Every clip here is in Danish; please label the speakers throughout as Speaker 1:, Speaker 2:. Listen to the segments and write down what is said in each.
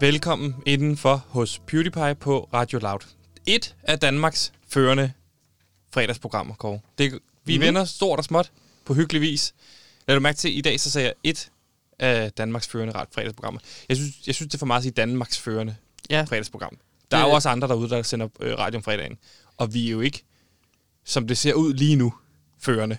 Speaker 1: Velkommen indenfor hos PewDiePie på Radio Loud. Et af Danmarks førende fredagsprogrammer, Kåre. Det, vi mm.
Speaker 2: Mhm.
Speaker 1: vender stort og småt på hyggelig vis. Lad du mærke til, i dag så sagde jeg et af Danmarks førende ret fredagsprogrammer. Jeg synes, jeg synes, det er for meget at sige Danmarks førende
Speaker 2: Ja.
Speaker 1: fredagsprogram. Der er
Speaker 2: Det-
Speaker 1: jo også andre derude, der sender øh, radio om fredagen. Og vi er jo ikke, som det ser ud lige nu, førende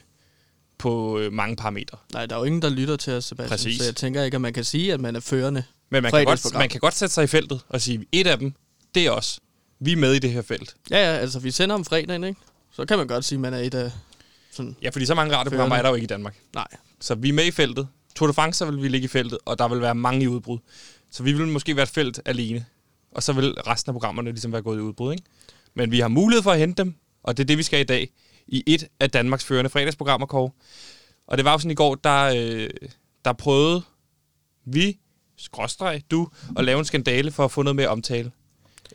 Speaker 1: på øh, mange parametre.
Speaker 2: Nej, der er jo ingen, der lytter til os, Sebastian.
Speaker 1: Præcis.
Speaker 2: Så jeg tænker ikke, at man kan sige, at man er førende.
Speaker 1: Men man kan, godt,
Speaker 2: Fredagsprogram.
Speaker 1: man kan godt sætte sig i feltet og sige, et af dem, det er os. Vi er med i det her felt.
Speaker 2: Ja, ja, altså vi sender om fredagen, ikke? Så kan man godt sige, at man er et af... Sådan,
Speaker 1: Ja, fordi så mange radioprogrammer
Speaker 2: Førende.
Speaker 1: er der jo ikke i Danmark.
Speaker 2: nej.
Speaker 1: Så vi er med i feltet. Tour de France vil vi ligge i feltet, og der vil være mange i udbrud. Så vi vil måske være et felt alene. Og så vil resten af programmerne ligesom være gået i udbrud, ikke? Men vi har mulighed for at hente dem, og det er det, vi skal i dag i et af Danmarks førende fredagsprogrammer, Kåre. Og det var jo sådan i går, der, øh, der prøvede vi, skråstreg, du, at lave en skandale for at få noget mere omtale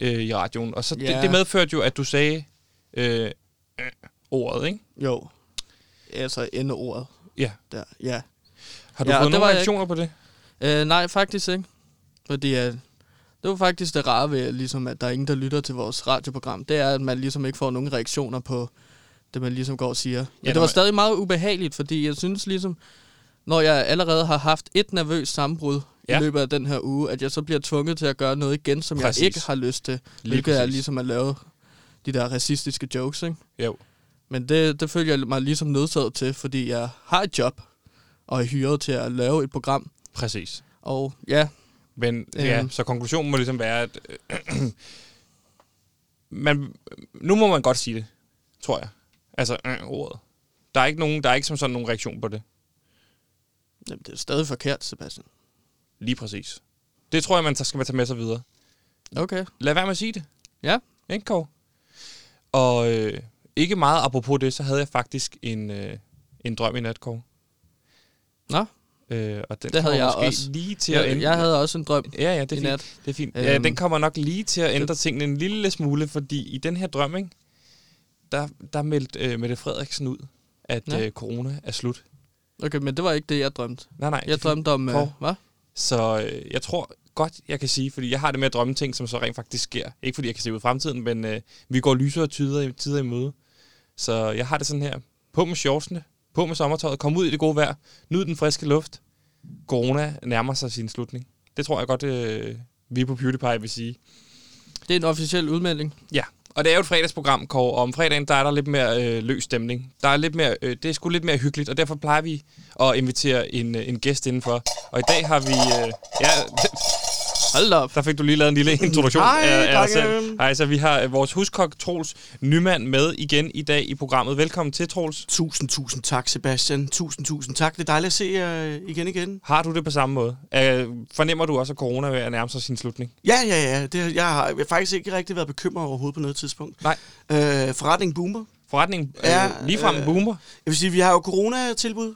Speaker 1: øh, i radioen. Og så yeah.
Speaker 2: Ja.
Speaker 1: det, det medførte jo, at du sagde øh, øh, ordet, ikke?
Speaker 2: Jo. Altså endeordet
Speaker 1: Ja.
Speaker 2: der, ja.
Speaker 1: Har du
Speaker 2: Ja,
Speaker 1: ja,
Speaker 2: og
Speaker 1: fået nogle
Speaker 2: det var jeg
Speaker 1: reaktioner på det?
Speaker 2: Øh, nej, faktisk ikke. Fordi at det var faktisk det rare ved, ligesom, at der er ingen, der lytter til vores radioprogram. Det er, at man ligesom ikke får nogen reaktioner på det, man ligesom går og siger. Men
Speaker 1: Ja,
Speaker 2: det var
Speaker 1: når-
Speaker 2: stadig meget ubehageligt, fordi jeg synes ligesom, når jeg allerede har haft et nervøst sammenbrud ja.
Speaker 1: Ja.
Speaker 2: i løbet af den her uge, at jeg så bliver tvunget til at gøre noget igen, som præcis.
Speaker 1: Præcis.
Speaker 2: jeg ikke har lyst til.
Speaker 1: Lige
Speaker 2: hvilket er
Speaker 1: præcis.
Speaker 2: ligesom at lave de der racistiske jokes, ikke?
Speaker 1: Jo.
Speaker 2: Men det, det føler jeg mig ligesom nødsaget til, fordi jeg har et job, og er hyret til at lave et program.
Speaker 1: Præcis.
Speaker 2: Og ja,
Speaker 1: Men ja,
Speaker 2: Øhm.
Speaker 1: så konklusionen må ligesom være, at øh, man, nu må man godt sige det, tror jeg. Altså øh, ordet. Der er ikke nogen, der er ikke som sådan nogen reaktion på det.
Speaker 2: Jamen, det er stadig forkert, Sebastian.
Speaker 1: Lige præcis. Det tror jeg, man så skal man tage med sig videre.
Speaker 2: Okay.
Speaker 1: Lad være med at sige det.
Speaker 2: Ja.
Speaker 1: Ikke, Kåre? Og øh, ikke meget apropos det, så havde jeg faktisk en, øh, en drøm i nat, Kåre.
Speaker 2: Nå.
Speaker 1: Øh, og den
Speaker 2: Det havde
Speaker 1: kommer
Speaker 2: jeg
Speaker 1: måske
Speaker 2: også.
Speaker 1: lige til at
Speaker 2: Jeg,
Speaker 1: ende.
Speaker 2: jeg havde også en drøm.
Speaker 1: Ja, ja, det er
Speaker 2: i
Speaker 1: fint.
Speaker 2: nat.
Speaker 1: Det er fint. Ja,
Speaker 2: Øhm,
Speaker 1: den kommer nok lige til at ændre tingene en lille smule, fordi i den her drøm, ikke, der, der meldte øh, Mette Frederiksen ud, at
Speaker 2: Ja.
Speaker 1: ja. øh, corona er slut.
Speaker 2: Okay, men det var ikke det, jeg drømte.
Speaker 1: Nej, nej. det er
Speaker 2: Jeg
Speaker 1: fint.
Speaker 2: drømte om... Øh,
Speaker 1: Prøv.
Speaker 2: hvad?
Speaker 1: Så øh, jeg tror godt, jeg kan sige, fordi jeg har det med at drømme ting, som så rent faktisk sker. Ikke fordi jeg kan se ud i fremtiden, men øh, vi går lysere tider, tider i møde. Så jeg har det sådan her. På med shortsene, på med sommertøjet, kom ud i det gode vejr, nyd den friske luft. Corona nærmer sig sin slutning. Det tror jeg godt, øh, vi på PewDiePie vil sige.
Speaker 2: Det er en officiel udmelding.
Speaker 1: Ja, og det er jo et fredagsprogram, Kåre, og om fredagen, der er der lidt mere øh, løs stemning. Der er lidt mere, øh, det er sgu lidt mere hyggeligt, og derfor plejer vi at invitere en, øh, en gæst indenfor. Og i dag har vi... Øh, ja,
Speaker 2: Hold da op.
Speaker 1: der fik du lige lavet en lille introduktion
Speaker 2: Hej,
Speaker 1: af, af os
Speaker 2: drenge.
Speaker 1: selv. Hej, så vi har øh, vores huskok, Troels Nymand, med igen i dag i programmet. Velkommen til, Troels.
Speaker 3: Tusind, tusind tak, Sebastian. Tusind, tusind tak. Det er dejligt at se jer øh, igen igen.
Speaker 1: Har du det på samme måde? Øh, fornemmer du også, at corona er ved at nærme sig sin slutning?
Speaker 3: Ja, ja, ja. Det, jeg har jeg har faktisk ikke rigtig været bekymret overhovedet på noget tidspunkt.
Speaker 1: Nej.
Speaker 3: Øh, forretningen boomer.
Speaker 1: Forretningen øh,
Speaker 3: Ja,
Speaker 1: ligefrem
Speaker 3: øh,
Speaker 1: boomer.
Speaker 3: Jeg vil sige, vi har jo corona-tilbud,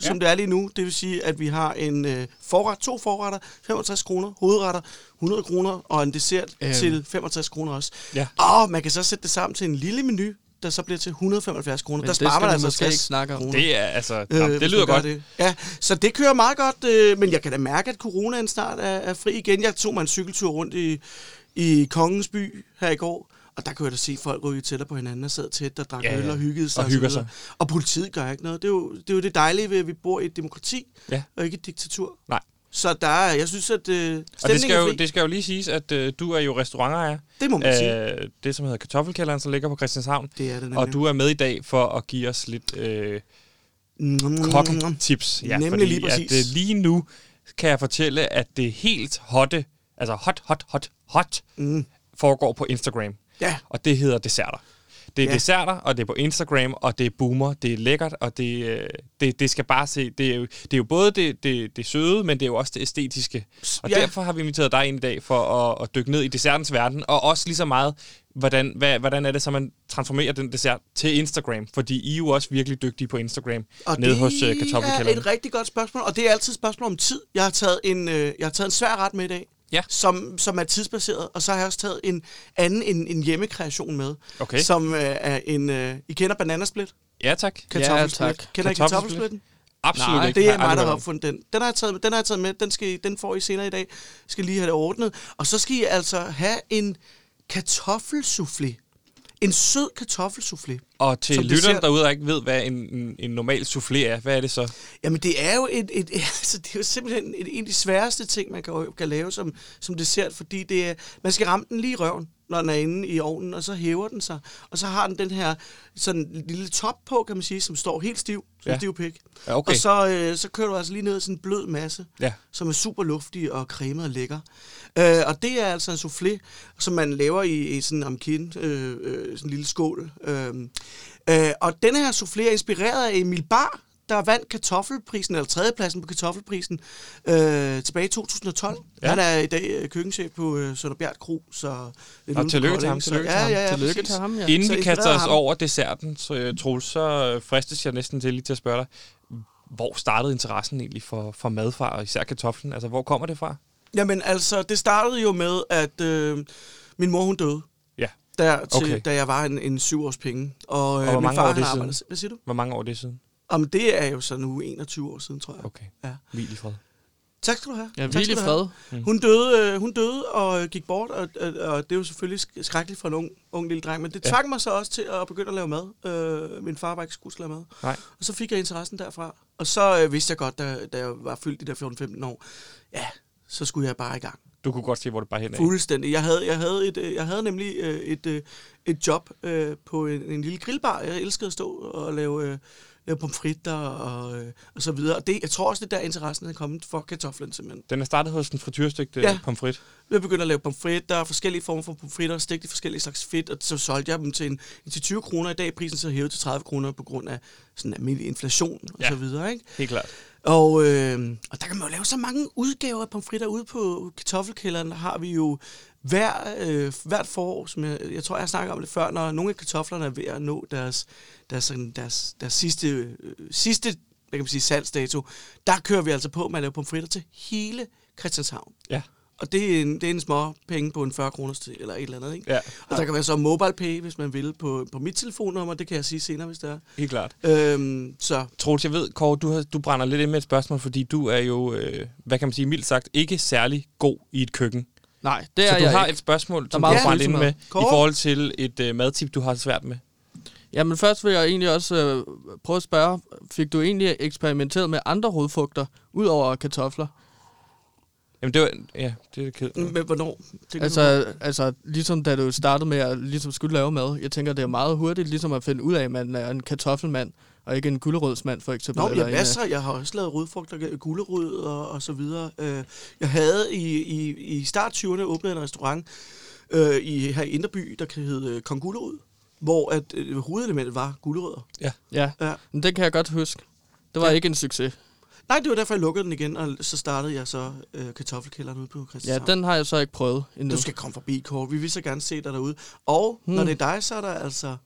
Speaker 3: som
Speaker 1: Ja.
Speaker 3: det er lige nu. Det vil sige, at vi har en øh, forret, to forretter, 65 kroner, hovedretter, 100 kroner og en dessert
Speaker 2: Øhm.
Speaker 3: øhm. til 65 kroner også.
Speaker 1: Ja.
Speaker 3: Og man kan så sætte det sammen til en lille menu, der så bliver til 175 kroner.
Speaker 2: Men
Speaker 3: der
Speaker 2: det
Speaker 3: sparer
Speaker 2: skal
Speaker 3: man
Speaker 2: vi
Speaker 3: altså
Speaker 2: måske
Speaker 3: 60
Speaker 2: ikke snakke om.
Speaker 3: kroner.
Speaker 1: Det er altså... Øh,
Speaker 3: Øh,
Speaker 1: jamen, det
Speaker 3: hvis
Speaker 1: lyder
Speaker 3: man gør
Speaker 1: godt.
Speaker 3: Det. Ja, så det kører meget godt, øh, men jeg kan da mærke, at coronaen snart er, er fri igen. Jeg tog mig en cykeltur rundt i, i Kongens By her i går, og der kunne jeg da se folk ryge tættere på hinanden og sad tæt og drak
Speaker 1: Ja,
Speaker 3: ja, øl
Speaker 1: ja.
Speaker 3: og hyggede sig.
Speaker 1: Og hygger
Speaker 3: så videre. Og politiet gør ikke noget. Det er, jo, det er jo det dejlige ved, at vi bor i et demokrati
Speaker 1: Ja.
Speaker 3: og ikke et diktatur.
Speaker 1: Nej.
Speaker 3: Så der er, jeg synes, at øh, stemningen
Speaker 1: Og det skal,
Speaker 3: er
Speaker 1: jo,
Speaker 3: fri.
Speaker 1: det skal jo lige siges, at øh, du er jo restaurantejer.
Speaker 3: det må man øh, sige.
Speaker 1: Øh, det, som hedder Kartoffelkælderen, som ligger på Christianshavn.
Speaker 3: Det er det nemlig.
Speaker 1: Og du er med i dag for at give os lidt øh,
Speaker 3: Mm,
Speaker 1: koktips.
Speaker 3: Nemlig lige præcis.
Speaker 1: At, øh, lige nu kan jeg fortælle, at det helt hotte, altså hot, hot, hot, hot,
Speaker 3: Mm.
Speaker 1: foregår på Instagram.
Speaker 3: Ja.
Speaker 1: Og det hedder desserter. Det er ja.
Speaker 3: Ja.
Speaker 1: desserter, og det er på Instagram, og det er boomer, det er lækkert, og det, øh, det, det skal bare se. Det er jo, det er jo både det, det, det søde, men det er jo også det æstetiske. Og ja.
Speaker 3: Ja.
Speaker 1: derfor har vi inviteret dig ind i dag for at, at dykke ned i dessertens verden, og også lige så meget, hvordan, hvad, hvordan er det så, man transformerer den dessert til Instagram? Fordi I er jo også virkelig dygtige på Instagram, og nede
Speaker 3: det
Speaker 1: hos uh,
Speaker 3: er
Speaker 1: kartoffelkælderen.
Speaker 3: et rigtig godt spørgsmål, og det er altid et spørgsmål om tid. Jeg har taget en, øh, jeg har taget en svær ret med i dag,
Speaker 1: Ja.
Speaker 3: som, som er tidsbaseret, og så har jeg også taget en anden, en, en hjemmekreation med,
Speaker 1: Okay.
Speaker 3: som øh, er en, øh, I kender bananasplit?
Speaker 1: Ja, tak.
Speaker 2: Ja, tak.
Speaker 3: Kender I
Speaker 1: Kartoffelsplit?
Speaker 3: kartoffelsplitten?
Speaker 1: Absolut
Speaker 2: Nej,
Speaker 1: ikke.
Speaker 3: Det
Speaker 1: Har
Speaker 3: er
Speaker 1: aldrig
Speaker 3: mig, der
Speaker 1: hørt
Speaker 3: har
Speaker 1: om.
Speaker 3: opfundet den. Den har jeg taget med. Den, har jeg taget med. Den, skal, I- den får I senere i dag. Skal lige have det ordnet. Og så skal I altså have en kartoffelsoufflé. En sød kartoffelsoufflé.
Speaker 1: Og til
Speaker 3: Som
Speaker 1: lytteren
Speaker 3: dessert-
Speaker 1: derude, der ikke ved, hvad en, en, en normal soufflé er, hvad er det så?
Speaker 3: Jamen, det er jo, et, et, altså, det er jo simpelthen et, en af de sværeste ting, man kan, kan lave som, som dessert, fordi det er, man skal ramme den lige i røven, når den er inde i ovnen, og så hæver den sig. Og så har den den her sådan lille top på, kan man sige, som står helt stiv, som
Speaker 1: Ja.
Speaker 3: ja. stiv pik.
Speaker 1: Ja, okay.
Speaker 3: Og så, øh, så kører du altså lige ned i sådan en blød masse,
Speaker 1: Ja.
Speaker 3: som er super luftig og cremet og lækker. Øh, og det er altså en soufflé, som man laver i, i sådan en amkin, øh, øh, sådan en lille skål. Øh, øh, og denne her soufflé er inspireret af Emil Bar, der vandt kartoffelprisen, eller tredjepladsen på kartoffelprisen, øh, tilbage i 2012.
Speaker 1: Ja.
Speaker 3: Ja. Han er i dag øh, køkkenchef på øh, Sønderbjerg Kro, så... lidt
Speaker 1: Nå,
Speaker 3: uden for
Speaker 1: tillykke til
Speaker 3: Kolding,
Speaker 1: ham,
Speaker 3: så-
Speaker 1: tillykke til
Speaker 3: ja,
Speaker 1: ham,
Speaker 3: Ja, ja,
Speaker 2: Tillykke
Speaker 3: præcis.
Speaker 2: til ham, ja.
Speaker 1: Inden
Speaker 3: Så
Speaker 1: vi
Speaker 3: inspireret
Speaker 1: kaster os
Speaker 3: ham.
Speaker 1: over desserten, så, øh, Troels, så øh, fristes jeg næsten til lige til at spørge dig, hvor startede interessen egentlig for, for madfar, og især kartoflen? Altså, hvor kommer det fra?
Speaker 3: Jamen altså, det startede jo med, at øh, min mor hun døde,
Speaker 1: Ja.
Speaker 3: der til,
Speaker 1: Okay.
Speaker 3: okay. da jeg var en, en syv års penge. Og, øh,
Speaker 1: hvor
Speaker 3: min
Speaker 1: mange
Speaker 3: far,
Speaker 1: år er
Speaker 3: han
Speaker 1: det siden?
Speaker 3: arbejdede- Hvad siger du?
Speaker 1: Hvor mange år er det siden?
Speaker 3: Jamen, det er jo så nu 21 år siden, tror jeg.
Speaker 1: Okay.
Speaker 3: Ja.
Speaker 1: Hvil i fred.
Speaker 3: Tak skal du have.
Speaker 2: Ja,
Speaker 3: Tak
Speaker 2: hvil
Speaker 3: skal
Speaker 2: i
Speaker 3: du
Speaker 2: fred.
Speaker 3: have. Hun døde, øh, hun døde og øh, gik bort, og, og, og det er jo selvfølgelig sk- skrækkeligt for en ung, ung lille dreng, men det
Speaker 1: Ja.
Speaker 3: tvang mig så også til at begynde at lave mad. Øh, min far var ikke skuespiller mad.
Speaker 1: Nej.
Speaker 3: Og så fik jeg interessen derfra. Og så øh, vidste jeg godt, da, da jeg var fyldt de der 14-15 år, ja, så skulle jeg bare i gang.
Speaker 1: Du kunne godt se, hvor det bare hen er.
Speaker 3: Fuldstændig. Jeg havde, jeg havde, et, øh, jeg havde nemlig øh, et, øh, et job øh, på en, en lille grillbar. Jeg elskede at stå og lave, øh, lave pomfritter og, øh, og så videre. Og det, jeg tror også, det er der interessen er kommet for kartoflen simpelthen.
Speaker 1: Den er startet hos en frityrstykke ja.
Speaker 3: Ja.
Speaker 1: pomfrit.
Speaker 3: Jeg begyndte at lave pomfritter, forskellige former for pomfritter, stegte i forskellige slags fedt, og så solgte jeg dem til, en, til 20 kroner. I dag er prisen så hævet til 30 kroner på grund af sådan almindelig inflation og
Speaker 1: Ja.
Speaker 3: så videre. Ikke?
Speaker 1: Helt klart.
Speaker 3: Og, øh, og der kan man jo lave så mange udgaver af pomfritter ude på kartoffelkælderen. Der har vi jo hver, øh, hvert forår, som jeg, jeg tror, jeg snakker om det før, når nogle af kartoflerne er ved at nå deres, deres, sådan, deres, deres sidste, øh, sidste hvad kan man sige, salgsdato, der kører vi altså på med at lave pomfritter til hele Christianshavn.
Speaker 1: Ja.
Speaker 3: Og det er, en, det er en små penge på en 40 kroner til, eller et eller andet, ikke?
Speaker 1: Ja.
Speaker 3: Og der kan være så mobile pay, hvis man vil, på, på mit telefonnummer, det kan jeg sige senere, hvis det er.
Speaker 1: Helt klart.
Speaker 3: Øhm, så
Speaker 1: Troels, jeg ved, Kåre, du, har, du brænder lidt ind med et spørgsmål, fordi du er jo, øh, hvad kan man sige, mildt sagt, ikke særlig god i et køkken.
Speaker 2: Nej, det er
Speaker 1: Så du
Speaker 2: jeg
Speaker 1: har
Speaker 2: ikke.
Speaker 1: et spørgsmål, som du
Speaker 2: meget
Speaker 1: har brændt ind
Speaker 2: følsomhed.
Speaker 1: med, i
Speaker 3: Kåre?
Speaker 1: forhold til et øh, madtip, du har det svært med.
Speaker 2: Jamen først vil jeg egentlig også øh, prøve at spørge, fik du egentlig eksperimenteret med andre rodfugter, ud over kartofler?
Speaker 1: Jamen, det var, ja, det er kedeligt.
Speaker 3: men hvornår? Det kan du-
Speaker 2: Altså, altså ligesom da du startede med at ligesom skulle lave mad, jeg tænker, det er meget hurtigt ligesom at finde ud af, at man er en kartoffelmand, og ikke en gulerødsmand for eksempel.
Speaker 3: Nå,
Speaker 2: eller
Speaker 3: jeg
Speaker 2: en, øh,
Speaker 3: masser. Jeg har også lavet rødfrugt og gulerod og, og så videre. Øh, Jeg havde i, i, i start 20'erne åbnet en restaurant øh, i, her i Inderby, der hed øh, Kong Gulerod, hvor at, øh, hovedelementet var gulerødder.
Speaker 2: Ja,
Speaker 3: Ja.
Speaker 2: men det kan jeg godt huske. Det var ja. ikke en succes.
Speaker 3: Nej, det var derfor, jeg lukkede den igen, og så startede jeg så øh, kartoffelkælderen ude på
Speaker 2: Ja,
Speaker 3: Christianshavn.
Speaker 2: den har jeg så ikke prøvet endnu.
Speaker 3: Du skal komme forbi, Kåre. Vi vil så gerne se dig derude. Og hmm. når det er dig, så er der altså...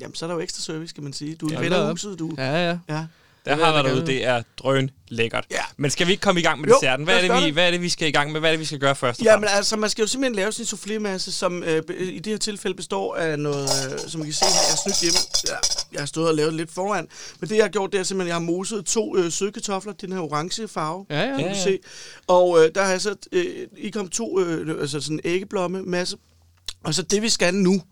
Speaker 3: Jamen, så er der jo ekstra service, kan man sige. Du
Speaker 2: Ja,
Speaker 3: er
Speaker 2: det er
Speaker 3: ja,
Speaker 2: op.
Speaker 3: huset, du. Ja.
Speaker 2: Ja, ja.
Speaker 3: ja.
Speaker 1: Der
Speaker 2: vil jeg
Speaker 1: har
Speaker 2: da
Speaker 1: været derude,
Speaker 2: gerne.
Speaker 1: det er drøn lækkert.
Speaker 3: Ja.
Speaker 1: Men skal vi ikke komme i gang med
Speaker 3: Jo,
Speaker 1: desserten? Hvad er,
Speaker 3: lad os
Speaker 1: det,
Speaker 3: gøre
Speaker 1: vi,
Speaker 3: det.
Speaker 1: hvad er det, vi skal i gang med? Hvad er det, vi skal gøre først? og
Speaker 3: Jamen
Speaker 1: fremmest?
Speaker 3: altså, man skal jo simpelthen lave sin soufflémasse, som øh, be- i det her tilfælde består af noget, øh, som I kan se her, jeg har snydt hjemme. Ja, jeg har stået og lavet det lidt foran. Men det, jeg har gjort, det er simpelthen, jeg har moset to øh, søde kartofler, den her orange farve.
Speaker 2: Ja, ja.
Speaker 3: Kan
Speaker 1: Ja,
Speaker 3: du
Speaker 1: ja.
Speaker 3: se. Og øh, der har jeg så, øh, I kom to, øh, altså sådan en æggeblomme masse. Og så det, vi skal nu,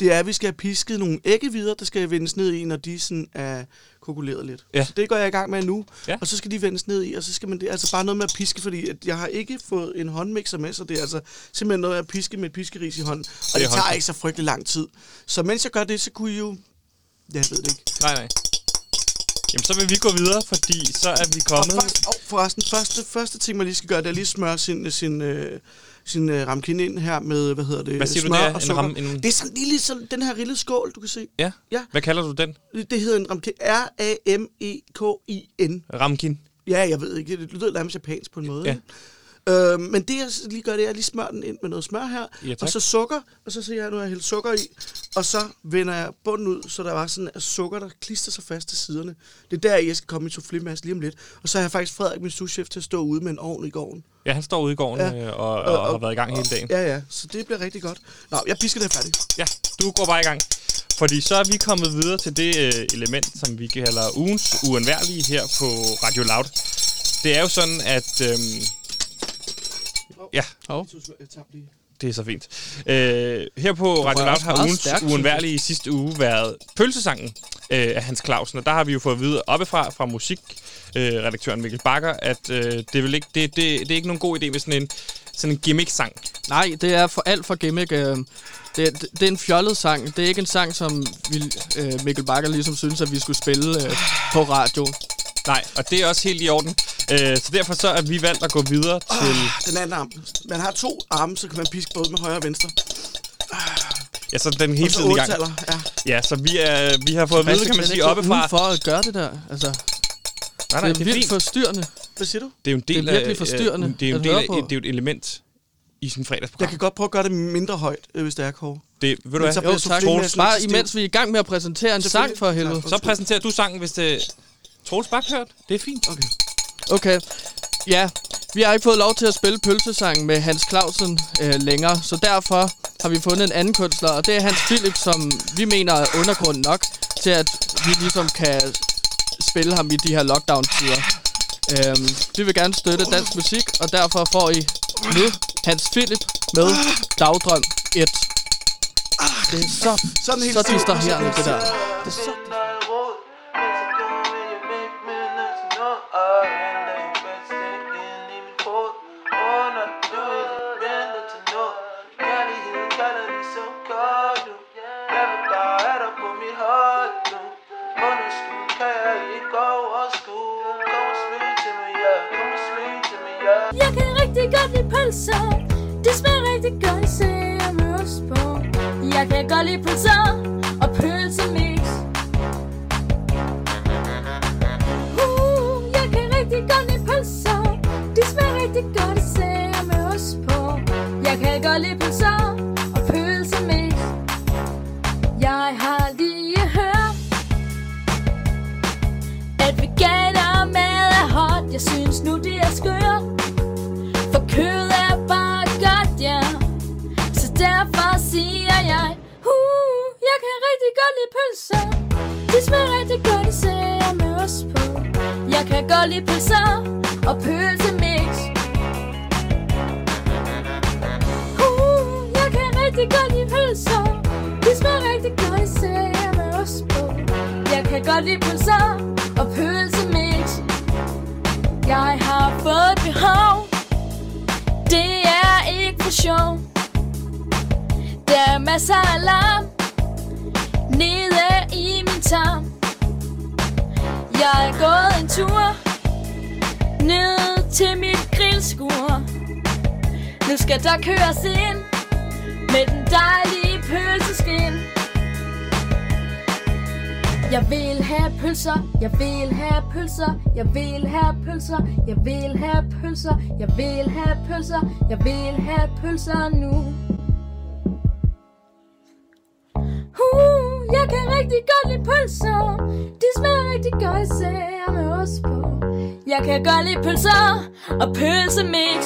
Speaker 3: det er, at vi skal have pisket nogle æggevider, der skal vendes ned i, når de sådan er kokuleret lidt.
Speaker 1: Ja.
Speaker 3: Så det går jeg i gang med nu.
Speaker 1: Ja.
Speaker 3: Og så skal de vendes ned i, og så skal man det. Altså bare noget med at piske, fordi at jeg har ikke fået en håndmixer med, så det er altså simpelthen noget med at piske med et piskeris i hånden. Og
Speaker 1: er
Speaker 3: det tager
Speaker 1: håndpisk.
Speaker 3: ikke så frygtelig lang tid. Så mens jeg gør det, så kunne I jo... Jeg ved det ikke.
Speaker 1: Nej, nej. Jamen, så vil vi gå videre, fordi så er vi kommet...
Speaker 3: Og først, oh, forresten, første, første ting, man lige skal gøre, det er lige at smøre sin, sin, øh, sin øh, ramkin ind her med, hvad hedder det,
Speaker 1: Hvad siger du,
Speaker 3: smør
Speaker 1: det er?
Speaker 3: og
Speaker 1: En
Speaker 3: sukker.
Speaker 1: ram- en-
Speaker 3: Det er sådan lille, sådan, den her rille skål, du kan se.
Speaker 1: Ja.
Speaker 3: Ja.
Speaker 1: Hvad kalder du den?
Speaker 3: Det hedder en ramkin. E R-A-M-E-K-I-N.
Speaker 1: Ramkin.
Speaker 3: Ja, jeg ved ikke, det lyder nærmest japansk på en måde.
Speaker 1: Ja.
Speaker 3: Ja. Øh, men det, jeg lige gør, det er, at jeg lige smører den ind med noget smør her,
Speaker 1: Ja, tak.
Speaker 3: og så sukker, og så siger jeg, nu har jeg hældt sukker i, og så vender jeg bunden ud, så der var sådan at sukker, der klister sig fast til siderne. Det er der, jeg skal komme i soufflémasse lige om lidt. Og så har jeg faktisk Frederik, min souschef, til at stå ude med en ovn i gården.
Speaker 1: Ja, han står ude i gården
Speaker 3: Ja.
Speaker 1: ja. og, og, og, har været i gang hele dagen.
Speaker 3: Ja, ja, så det bliver rigtig godt. Nå, jeg pisker det færdigt.
Speaker 1: Ja, du går bare i gang. fordi så er vi kommet videre til det øh, element, som vi kalder ugens uundværlige her på Radio Loud. Det er jo sådan, at... Øhm, ja,
Speaker 2: Hov.
Speaker 3: Jeg tabte lige.
Speaker 1: det er så fint. Øh, her på Radio Loud
Speaker 2: også
Speaker 1: har
Speaker 2: meget
Speaker 1: ugens
Speaker 2: stærkt, synes jeg.
Speaker 1: uundværlige i sidste uge været pølsesangen øh, af Hans Clausen. Og der har vi jo fået at vide oppefra fra musikredaktøren øh, redaktøren Mikkel Bakker, at øh, det, er vel ikke, det, det, det er ikke nogen god idé med sådan en, sådan en gimmick-sang.
Speaker 2: Nej, det er for alt for gimmick. Øh, det, det, det er en fjollet sang. Det er ikke en sang, som vi, øh, Mikkel Bakker ligesom synes, at vi skulle spille øh, på radio.
Speaker 1: Nej, og det er også helt i orden. Øh, så derfor så er vi valgt at gå videre til...
Speaker 3: Ah, Den anden arm. Man har to arme, så kan man piske både med højre og venstre.
Speaker 1: Ja, så den er
Speaker 3: Og
Speaker 1: hele
Speaker 3: så
Speaker 1: tiden i gang.
Speaker 3: ottaller. Ja.
Speaker 1: Ja, så vi, er, vi har fået at vide, kan man sige, oppefra...
Speaker 2: for at gøre det der. Altså,
Speaker 1: Nej, nej,
Speaker 2: det er
Speaker 1: det er,
Speaker 2: vildt
Speaker 1: fint.
Speaker 2: forstyrrende.
Speaker 3: Hvad siger du?
Speaker 1: det er jo en del
Speaker 2: det er virkelig
Speaker 1: af, øh,
Speaker 2: forstyrrende
Speaker 1: Det er, jo en
Speaker 2: at
Speaker 1: del
Speaker 2: høre
Speaker 1: af,
Speaker 2: på.
Speaker 1: det er jo et element i sådan en
Speaker 3: Jeg
Speaker 1: fredagsprogram.
Speaker 3: kan godt prøve at gøre det mindre højt, øh, hvis det er kort.
Speaker 1: Det, ved du
Speaker 3: Men
Speaker 1: hvad?
Speaker 3: så
Speaker 1: Jo,
Speaker 2: Jo,
Speaker 3: bliver
Speaker 2: tak.
Speaker 3: suffisen
Speaker 2: Troels,
Speaker 3: næsten
Speaker 2: bare
Speaker 3: stiv.
Speaker 2: imens vi er i gang med at præsentere en sang for helvede.
Speaker 1: Så præsenterer du sangen, hvis det... Troels Bak hørt. Det er fint.
Speaker 3: Okay.
Speaker 2: Okay. Ja, vi har ikke fået lov til at spille pølsesangen med Hans Clausen øh, længere, så derfor har vi fundet en anden kunstner, og det er Hans Philip, som vi mener er undergrund nok til, at vi ligesom kan spille ham i de her lockdown-tider. Øhm, vi vil gerne støtte dansk musik, og derfor får I nu Hans Philip med Dagdrøm 1. Det er så,
Speaker 3: Sådan helt
Speaker 2: så
Speaker 3: stiv.
Speaker 2: distraherende, det der.
Speaker 4: Yeah.
Speaker 5: Jeg kan rigtig godt lide pølser Det smager rigtig godt, især med ost på Jeg kan godt lide pølser og pølsemix Uh, jeg kan rigtig godt lide pølser De smager rigtig godt, især med ost på Jeg kan godt lide pølser og pølsemix Jeg har lige hørt at veganermad er hot Jeg synes nu det er skørt for kød er bare godt, ja Så derfor siger jeg uh, Jeg kan rigtig godt lide pølser De smager rigtig godt, især med ost på Jeg kan godt lide pølser og pølsemix uh, Jeg kan rigtig godt lide pølser De smager rigtig godt, især med ost på Jeg kan godt lide pølser og pølsemix Jeg har fået et behov det er ikke for sjov Der er masser af alarm Nede i min tarm Jeg er gået en tur Ned til mit grillskur Nu skal der køres ind Med den dejlige pølseskin jeg vil have pølser, jeg vil have pølser, jeg vil have pølser, jeg vil have pølser, jeg vil have pølser, jeg vil have pølser nu. Uh, jeg kan rigtig godt lide pølser, de smager rigtig godt, især med ost på. Jeg kan godt lide pølser og pølsemix.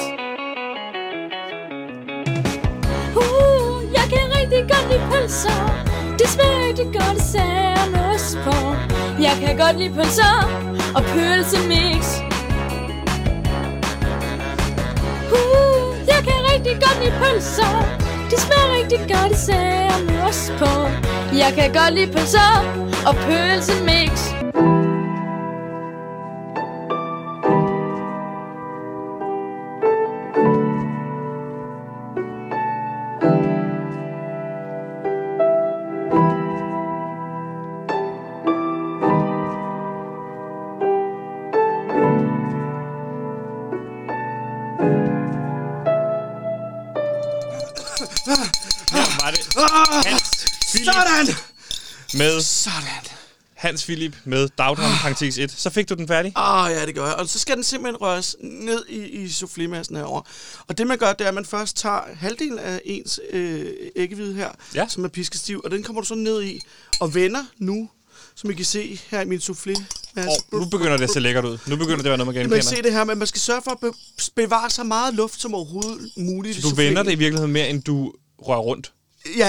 Speaker 5: Uh, jeg kan rigtig godt lide pølser Det smager rigtig godt, især med ost på Jeg kan godt lide pølser og pølsemix Uh, jeg kan rigtig godt lide pølser De smager rigtig godt, især med ost på Jeg kan godt lide pølser og pølsemix
Speaker 1: Her var det
Speaker 3: Ah,
Speaker 1: Hans Philip
Speaker 3: sådan!
Speaker 1: med,
Speaker 3: Sådan.
Speaker 1: Hans Philip med Dagdrøm Pangtix 1. Så fik du den færdig.
Speaker 3: Åh, Ah, ja, Ah. det gør jeg. Og så skal den simpelthen røres ned i, i soufflémassen herovre. Og det, man gør, det er, at man først tager halvdelen af ens øh, æggehvide her,
Speaker 1: Ja.
Speaker 3: ja. som er piskestiv, og den kommer du så ned i og vender nu, som I kan se her i min soufflémasse.
Speaker 1: Og nu begynder det at se lækkert ud. Nu begynder det at være noget, man
Speaker 3: Man kan se
Speaker 1: genkender.
Speaker 3: det her, men man skal sørge for at be- bevare så meget luft som overhovedet muligt. i
Speaker 1: Du
Speaker 3: souffléen.
Speaker 1: vender det i virkeligheden mere, end du rører rundt.
Speaker 3: Ja,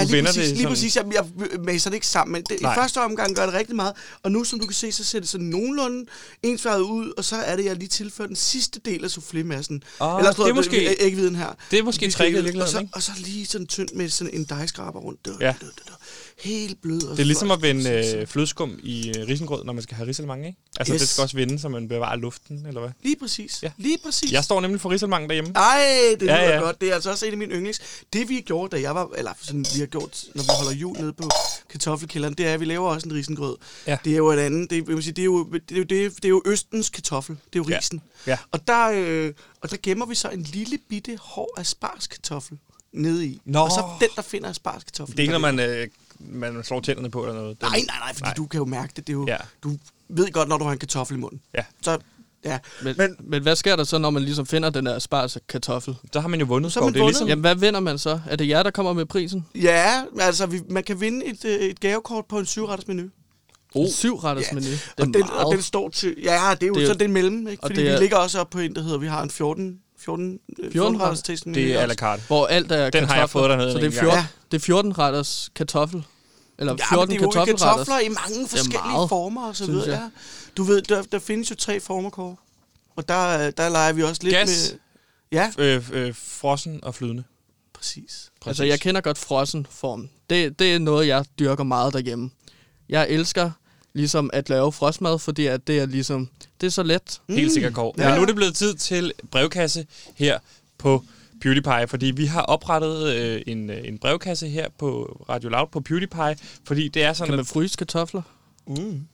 Speaker 1: Du
Speaker 3: lige
Speaker 1: vender
Speaker 3: præcis,
Speaker 1: det
Speaker 3: lige
Speaker 1: sådan-
Speaker 3: præcis. Jeg, jeg maser det ikke sammen, men det, i
Speaker 1: Nej.
Speaker 3: første omgang gør det rigtig meget. Og nu, som du kan se, så ser det sådan nogenlunde ensfarvet ud, og så er det, jeg lige tilføjer den sidste del af soufflé-massen.
Speaker 1: Ah,
Speaker 3: Ellers tror
Speaker 1: det er
Speaker 3: jeg,
Speaker 1: måske-
Speaker 3: jeg- ikke viden her.
Speaker 1: det er måske
Speaker 3: Vi skal
Speaker 1: tricket i
Speaker 3: ikke- og
Speaker 1: virkeligheden,
Speaker 3: så,
Speaker 1: ikke?
Speaker 3: og så lige sådan tyndt med sådan en dejskraber rundt. Død,
Speaker 1: Ja.
Speaker 3: ja. død, død, død. Helt blød. Og
Speaker 1: Det er ligesom
Speaker 3: flot.
Speaker 1: at vende øh, flødeskum i øh, risengrød, når man skal have risalemang, ikke? Altså, yes. det
Speaker 3: Yes.
Speaker 1: skal også vende, så man bevarer luften, eller hvad?
Speaker 3: Lige præcis.
Speaker 1: Ja.
Speaker 3: Ja. Lige præcis.
Speaker 1: Jeg står nemlig for risalemang derhjemme.
Speaker 3: Ah. Ej, det
Speaker 1: Ja,
Speaker 3: lyder ja,
Speaker 1: ja.
Speaker 3: ja. godt. Det er altså også en af mine yndlings. Det vi gjorde, da jeg var, eller sådan, vi har gjort, når vi holder jul nede på kartoffelkælderen, det er, at vi laver også en risengrød.
Speaker 1: Ja.
Speaker 3: Det er jo et andet. Det, jeg vil sige, det, er jo, det, er jo, det, er- det er jo Østens kartoffel. Det er jo
Speaker 1: Ja.
Speaker 3: risen.
Speaker 1: Ja.
Speaker 3: Og, der, øh, og der gemmer vi så en lille bitte hård asparskartoffel nede i.
Speaker 1: Nå.
Speaker 3: Og så den, der finder asparskartoflen.
Speaker 1: Det er ikke
Speaker 3: der
Speaker 1: noget, man, øh, man slår tænderne på eller noget. Det er-
Speaker 3: Nej, nej, nej, fordi nej. du kan jo mærke det. det er jo,
Speaker 1: Ja.
Speaker 3: ja. Du ved godt, når du har en kartoffel i munden.
Speaker 1: Ja,
Speaker 3: Så, ja.
Speaker 2: Men, men, men hvad sker der så, når man ligesom finder den der sparse kartoffel?
Speaker 1: der har man jo vundet,
Speaker 3: Så har
Speaker 1: Skov.
Speaker 3: man
Speaker 1: Det er
Speaker 3: vundet.
Speaker 1: ligesom,
Speaker 2: Jamen, hvad vinder man så? Er det jer, der kommer med prisen?
Speaker 3: Ja, altså, vi, man kan vinde et, øh, et gavekort på en syvretters menu.
Speaker 2: Oh. Syv retters
Speaker 3: Ja,
Speaker 2: menu. Det er
Speaker 3: og, den,
Speaker 2: meget.
Speaker 3: og den står til... Ja, det er
Speaker 2: Det er
Speaker 3: jo det, så
Speaker 2: jo-
Speaker 3: den mellem, ikke?
Speaker 2: og
Speaker 3: Fordi
Speaker 2: det er-
Speaker 3: vi ligger også op på en, der hedder, vi har en øh, 14... 14, 14 retters tasting menu.
Speaker 1: det er
Speaker 3: også.
Speaker 1: à la carte.
Speaker 2: hvor alt er
Speaker 1: Den har jeg fået dernede
Speaker 2: Så
Speaker 1: en
Speaker 2: det er
Speaker 1: gang.
Speaker 2: 14, ja.
Speaker 3: Ja.
Speaker 2: det er 14 retters kartoffel. Eller
Speaker 3: Ja,
Speaker 2: 14
Speaker 3: men det er jo
Speaker 2: kartoffelretters.
Speaker 3: kartofler i mange forskellige
Speaker 2: meget,
Speaker 3: former og så
Speaker 2: synes
Speaker 3: videre.
Speaker 2: jeg.
Speaker 3: Ja. Du ved, der, der findes jo tre former, Kåre. Og der, øh, der leger vi også lidt
Speaker 1: Gas.
Speaker 3: med... Ja,
Speaker 1: Øh, øh, frossen og flydende.
Speaker 3: Altså, præcis.
Speaker 1: Præcis.
Speaker 2: Altså, jeg kender godt frossen form. Det, det er noget, jeg dyrker meget derhjemme. Jeg elsker ligesom at lave frostmad, fordi at det er ligesom, det er så let.
Speaker 1: Helt sikkert, Kåre. Ja.
Speaker 3: Mm. Ja.
Speaker 1: Men nu er det blevet tid til brevkasse her på PewDiePie, fordi vi har oprettet øh, en, øh, en brevkasse her på Radio Loud på PewDiePie, fordi det er sådan,
Speaker 2: Kan
Speaker 1: at
Speaker 2: man fryse kartofler?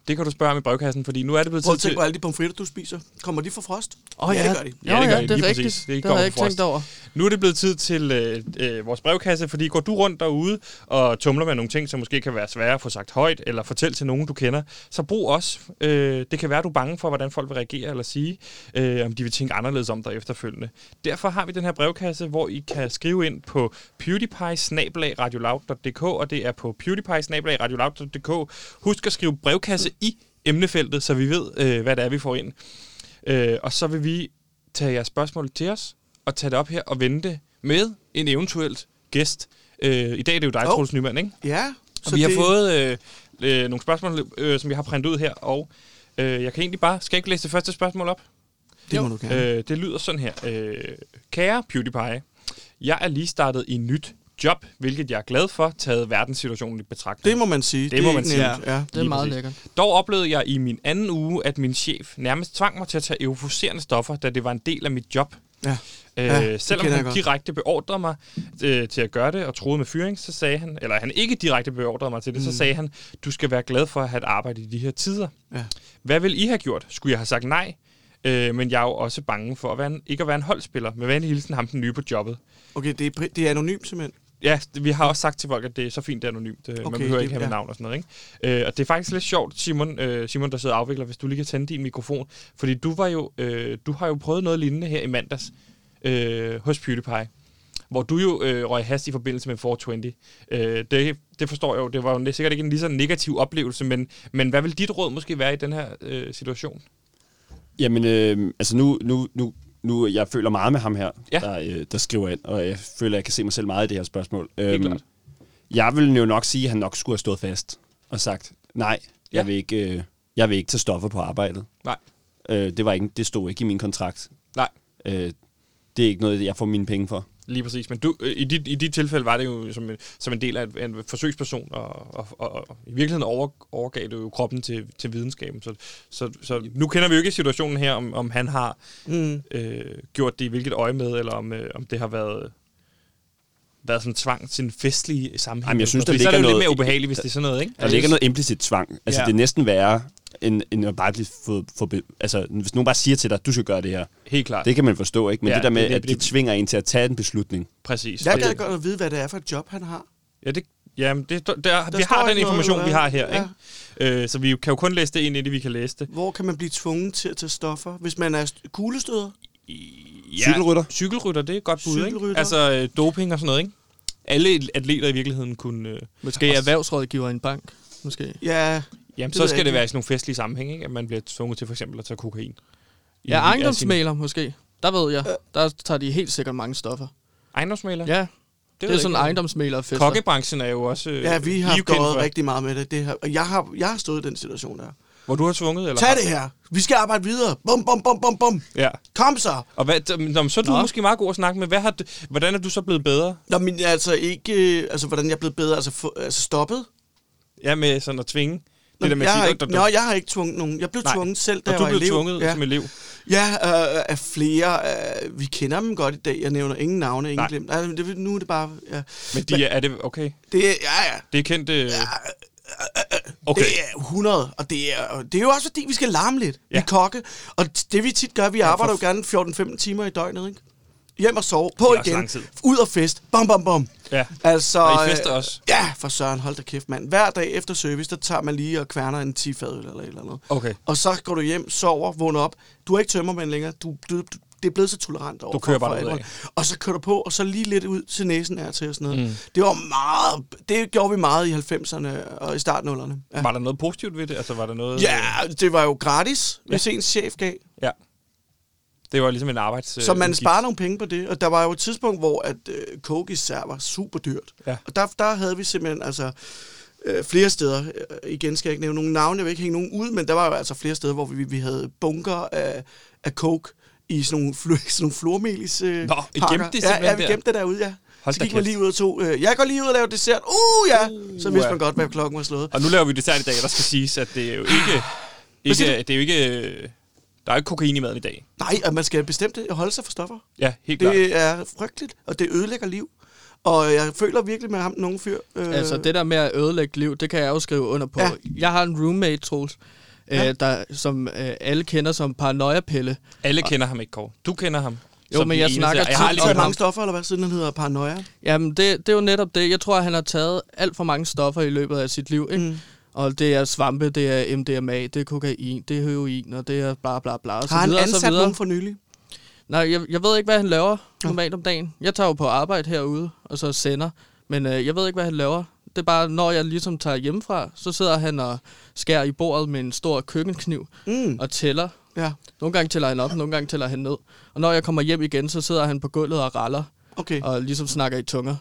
Speaker 1: Det kan du spørge om i brevkassen, fordi nu er det blevet
Speaker 3: Mm. Prøv
Speaker 1: tid
Speaker 3: at tænke
Speaker 1: til...
Speaker 3: på alle de pomfritter, du spiser. Kommer de fra frost?
Speaker 2: Åh oh,
Speaker 3: ja, det gør de.
Speaker 1: Ja, det gør de,
Speaker 2: det
Speaker 1: lige
Speaker 2: er
Speaker 1: præcis.
Speaker 2: rigtigt.
Speaker 1: Det
Speaker 2: Det,
Speaker 1: kommer
Speaker 2: har jeg
Speaker 1: fra
Speaker 2: ikke
Speaker 1: frost.
Speaker 2: tænkt over.
Speaker 1: Nu er det blevet tid til øh, øh, vores brevkasse, fordi går du rundt derude og tumler med nogle ting, som måske kan være svære at få sagt højt, eller fortæl til nogen, du kender, så brug os. Øh, det kan være, du er bange for, hvordan folk vil reagere eller sige, øh, om de vil tænke anderledes om dig efterfølgende. Derfor har vi den her brevkasse, hvor I kan skrive ind på pewdiepie og det er på pewdiepie Husk at skrive brevkasse i emnefeltet, så vi ved, øh, hvad det er, vi får ind. Øh, og så vil vi tage jeres spørgsmål til os, og tage det op her og vente med en eventuelt gæst. Øh, I dag er det jo dig, oh.
Speaker 3: Hov.
Speaker 1: Troels Nyman, ikke?
Speaker 3: Ja.
Speaker 1: Og vi har
Speaker 3: det-
Speaker 1: fået øh, øh, nogle spørgsmål, øh, som vi har printet ud her, og øh, jeg kan egentlig bare... Skal jeg ikke læse det første spørgsmål op?
Speaker 3: Det må du gerne.
Speaker 1: Øh, det lyder sådan her. Øh, kære PewDiePie, jeg er lige startet i nyt job, hvilket jeg er glad for, taget verdenssituationen i betragtning.
Speaker 3: Det må man sige.
Speaker 1: det må
Speaker 3: er
Speaker 1: man
Speaker 3: ikke
Speaker 1: sige.
Speaker 3: nemt, Ja.
Speaker 2: Det er
Speaker 1: Lige
Speaker 2: meget
Speaker 1: præcis.
Speaker 2: lækkert.
Speaker 1: Dog oplevede jeg i min anden uge, at min chef nærmest tvang mig til at tage euforiserende stoffer, da det var en del af mit job.
Speaker 3: ja.
Speaker 1: Øh,
Speaker 3: Ja,
Speaker 1: ja,
Speaker 3: det
Speaker 1: selvom
Speaker 3: kender
Speaker 1: han
Speaker 3: jeg godt.
Speaker 1: direkte beordrede mig øh, til at gøre det og troede med fyring, så sagde han, eller han ikke direkte beordrede mig til det, mm. så sagde han, du skal være glad for at have et arbejde i de her tider.
Speaker 3: Ja.
Speaker 1: Hvad vil I have gjort? Skulle jeg have sagt nej? Øh, men jeg er jo også bange for at være en, ikke at være en holdspiller. Med venlig hilsen ham den nye på jobbet.
Speaker 3: Okay, det er, pri- det er anonymt simpelthen.
Speaker 1: Ja, det- vi har også sagt til folk, at det er så fint, det er anonymt. Okay, man
Speaker 3: Okay,
Speaker 1: behøver
Speaker 3: det-
Speaker 1: ikke have ja.
Speaker 3: ja.
Speaker 1: navn og sådan noget. Ikke? Øh, og det er faktisk lidt sjovt, Simon, øh, Simon der sidder og afvikler, hvis du lige kan tænde din mikrofon. Fordi du, var jo, øh, du har jo prøvet noget lignende her i mandags øh, hos PewDiePie. Hvor du jo øh, røg hast i forbindelse med 420. Øh, det, det forstår jeg jo. Det var jo sikkert ikke en lige så negativ oplevelse, men, men hvad vil dit råd måske være i den her øh, situation?
Speaker 6: Jamen, øh, altså nu, nu, nu, nu, jeg føler meget med ham her,
Speaker 1: Ja.
Speaker 6: ja. der, øh, der skriver ind, og jeg føler, jeg kan se mig selv meget i det her spørgsmål. Øhm,
Speaker 1: klart.
Speaker 6: Jeg vil jo nok sige, at han nok skulle have stået fast og sagt, nej, jeg,
Speaker 1: Ja.
Speaker 6: vil, ikke, øh, jeg vil ikke tage stoffer på arbejdet.
Speaker 1: Nej.
Speaker 6: Øh, det, var ikke, det stod ikke i min kontrakt.
Speaker 1: Nej,
Speaker 6: Øh, det er ikke noget, jeg får mine penge for.
Speaker 1: Lige præcis, men du, øh, i, dit, i dit tilfælde var det jo som en, som en del af en, en forsøgsperson, og, og, og, og i virkeligheden over, overgav du jo kroppen til, til videnskaben. Så, så, så nu kender vi jo ikke situationen her, om, om han har
Speaker 3: Mm.
Speaker 1: øh, gjort det i hvilket øje med, eller om, øh, om det har været været sådan tvang til en festlig sammenhæng.
Speaker 6: Jamen, jeg synes, der
Speaker 1: Fordi så er det jo
Speaker 6: ligger
Speaker 1: lidt
Speaker 6: noget-
Speaker 1: mere ubehageligt, hvis det er sådan noget, ikke?
Speaker 6: Der ligger noget implicit tvang. Altså,
Speaker 1: Ja.
Speaker 6: ja. det er næsten værre, end, end at bare blive få, få, altså, hvis nogen bare siger til dig, du skal gøre det her.
Speaker 1: Helt klart.
Speaker 6: Det kan man forstå, ikke? Men
Speaker 1: Ja,
Speaker 6: ja, det der med,
Speaker 1: det- det-
Speaker 6: at de
Speaker 1: det-
Speaker 6: tvinger en til at tage en beslutning.
Speaker 1: Præcis.
Speaker 3: Jeg
Speaker 1: Og det-
Speaker 3: gad godt at vide, hvad det er for et job, han har.
Speaker 1: Ja, det, jamen, det, der, der, vi
Speaker 3: står
Speaker 1: har den
Speaker 3: ikke noget,
Speaker 1: information, vi
Speaker 3: eller
Speaker 1: har
Speaker 3: hvad?
Speaker 1: her, ja. ikke? Øh, så vi kan jo kun læse det ind, indtil vi kan læse det.
Speaker 3: Hvor kan man blive tvunget til at tage stoffer, hvis man er st- kuglestøder?
Speaker 1: Ja,
Speaker 6: Cykelrytter?
Speaker 1: Cykelrytter, det er et godt bud, ikke?
Speaker 3: Cykelrytter.
Speaker 1: Altså øh, doping og sådan noget, ikke? Alle atleter i virkeligheden kunne... Øh,
Speaker 2: Måske erhvervsrådgiver i en bank. Måske.
Speaker 3: Ja,
Speaker 1: jamen,
Speaker 3: det
Speaker 1: så
Speaker 3: ved
Speaker 1: skal
Speaker 3: jeg
Speaker 1: det
Speaker 3: ikke.
Speaker 1: være i sådan nogle festlige sammenhæng, ikke? At man bliver tvunget til for eksempel at tage kokain. I-
Speaker 2: Ja,
Speaker 1: af sin-
Speaker 2: ejendomsmaler måske. Der ved jeg. Der tager de helt sikkert mange stoffer.
Speaker 1: Ejendomsmæler?
Speaker 2: Ja,
Speaker 1: ved
Speaker 2: Det er
Speaker 1: jeg
Speaker 2: sådan
Speaker 1: ikke.
Speaker 2: ejendomsmæglerfester.
Speaker 1: Kokkebranchen er jo også øh,
Speaker 3: Ja, vi har
Speaker 1: I er jo kendt
Speaker 3: gået
Speaker 1: for-
Speaker 3: rigtig meget med det. det her. Og jeg har, jeg har stået i den situation der.
Speaker 1: Hvor du har tvunget, eller?
Speaker 3: Tag det her. Vi skal arbejde videre. Bum, bum, bum, bum, bum.
Speaker 1: Ja.
Speaker 3: Kom så.
Speaker 1: Og hvad, nå, men så er du
Speaker 2: Nå.
Speaker 1: Nå. måske meget god at snakke med. Hvad har, du- hvordan er du så blevet bedre?
Speaker 3: Nå, men altså ikke... øh, Altså, hvordan jeg er blevet bedre. Altså, få, altså stoppet.
Speaker 1: Ja, med sådan at tvinge.
Speaker 3: Nå,
Speaker 1: det der med
Speaker 3: jeg
Speaker 1: at
Speaker 3: har
Speaker 1: sige,
Speaker 3: ikke,
Speaker 1: "Dum, dum,
Speaker 3: nå,
Speaker 1: dum."
Speaker 3: jeg har ikke tvunget nogen. Jeg blev
Speaker 1: Nej.
Speaker 3: tvunget selv, da
Speaker 1: og
Speaker 3: jeg
Speaker 1: du
Speaker 3: var
Speaker 1: blev
Speaker 3: elev.
Speaker 1: tvunget
Speaker 3: ja.
Speaker 1: som elev.
Speaker 3: Ja, øh, af flere. Øh, vi kender dem godt i dag. Jeg nævner ingen navne, ingen
Speaker 1: Nej.
Speaker 3: glemt. Nej, men det, nu er det bare... Ja.
Speaker 1: Men de, er, er det okay?
Speaker 3: Det er, ja, ja.
Speaker 1: Det er kendt... Øh, okay.
Speaker 3: Okay. øh, Det er 100, og det er, og det er jo også fordi, vi skal larme lidt. Ja. Vi
Speaker 1: Ja.
Speaker 3: er kokke, og t- det vi tit gør, vi arbejder
Speaker 1: for-
Speaker 3: jo gerne 14-15 timer i døgnet, ikke? Hjem og sove, på
Speaker 1: Det er også
Speaker 3: igen,
Speaker 1: lang tid.
Speaker 3: ud og fest, bom, bom, bom.
Speaker 1: Ja.
Speaker 3: Altså,
Speaker 1: Og I
Speaker 3: øh,
Speaker 1: fester også?
Speaker 3: Ja, for søren, hold da kæft, mand. Hver dag efter service, der tager man lige og kværner en 10 fadøl eller et eller andet.
Speaker 1: Okay.
Speaker 3: Og så går du hjem, sover, vågner op. Du er ikke tømmermand længere. Du, du, du det er blevet så tolerant over
Speaker 1: kører bare derudad.
Speaker 3: alkohol. Og så kører du på, og så lige lidt ud til næsen er til og sådan noget. Mm. Det var meget... Det gjorde vi meget i 90'erne og i starten af 00'erne. Ja.
Speaker 1: Var der noget positivt ved det? Altså, var der noget...
Speaker 3: Ja, det var jo gratis, hvis ens chef gav.
Speaker 1: øh, ja. Det var ligesom en arbejds... øh,
Speaker 3: Så man
Speaker 1: udgift.
Speaker 3: sparer nogle penge på det. Og der var jo et tidspunkt, hvor at øh, coke især var super dyrt.
Speaker 1: Ja.
Speaker 3: Og der, der havde vi simpelthen altså øh, flere steder. Øh, igen skal jeg ikke nævne nogen navne, jeg vil ikke hænge nogen ud, men der var jo altså flere steder, hvor vi, vi havde bunker af, af coke i sådan nogle, fl- sådan nogle flormelis øh,
Speaker 1: Nå, I
Speaker 3: pakker.
Speaker 1: gemte det
Speaker 3: ja, ja,
Speaker 1: simpelthen
Speaker 3: vi
Speaker 1: der?
Speaker 3: gemte det derude, ja.
Speaker 1: Hold
Speaker 3: så
Speaker 1: da
Speaker 3: gik man
Speaker 1: kæft.
Speaker 3: lige ud og tog, øh, jeg går lige ud og laver dessert. Uh, ja! Uh, så vidste
Speaker 1: ja.
Speaker 3: man godt, hvad klokken var slået.
Speaker 1: Og nu laver vi det særligt i dag, og der skal siges, at det er jo ikke... ikke
Speaker 3: Ah. siger
Speaker 1: det er jo ikke... øh, Der er jo ikke kokain i maden i dag.
Speaker 3: Nej, og man skal bestemt øh, holde sig for stoffer.
Speaker 1: Ja, helt klart.
Speaker 3: Det er frygteligt, og det ødelægger liv. Og jeg føler virkelig med ham, nogen fyr. Øh,
Speaker 2: Altså, det der med at ødelægge liv, det kan jeg jo skrive under på.
Speaker 3: Ja.
Speaker 2: Ja. Jeg har en roommate, Troels, ja. øh, der, som øh, alle kender som paranoia-pille.
Speaker 1: Alle kender ham ikke, Kåre. Du kender ham.
Speaker 2: Jo,
Speaker 1: som
Speaker 2: men
Speaker 1: den
Speaker 2: jeg
Speaker 1: eneste.
Speaker 2: snakker
Speaker 1: jeg har
Speaker 2: tit
Speaker 1: aldrig
Speaker 3: og
Speaker 2: om
Speaker 1: hørt
Speaker 2: ham.
Speaker 1: ham.
Speaker 3: mange stoffer, eller hvad siden han hedder, paranoia.
Speaker 2: Jamen, det, det er jo netop det. Jeg tror, at han har taget alt for mange stoffer i løbet af sit liv, ikke? Mm. Og det er svampe, det er MDMA, det er kokain, det er heroin, og det er bla bla bla. Og så
Speaker 3: Har han
Speaker 2: videre, og så
Speaker 3: ansat
Speaker 2: videre.
Speaker 3: nogen for nylig?
Speaker 2: Nej, jeg, jeg ved ikke, hvad han laver normalt om dagen. Jeg tager jo på arbejde herude, og så sender. Men øh, jeg ved ikke, hvad han laver. Det er bare, når jeg ligesom tager hjemmefra, så sidder han og skærer i bordet med en stor køkkenkniv
Speaker 3: Mm.
Speaker 2: og tæller.
Speaker 3: Ja,
Speaker 2: Nogle gange tæller han op, nogle gange tæller han ned. Og når jeg kommer hjem igen, så sidder han på gulvet og raller
Speaker 3: okay.
Speaker 2: og ligesom snakker i tunger.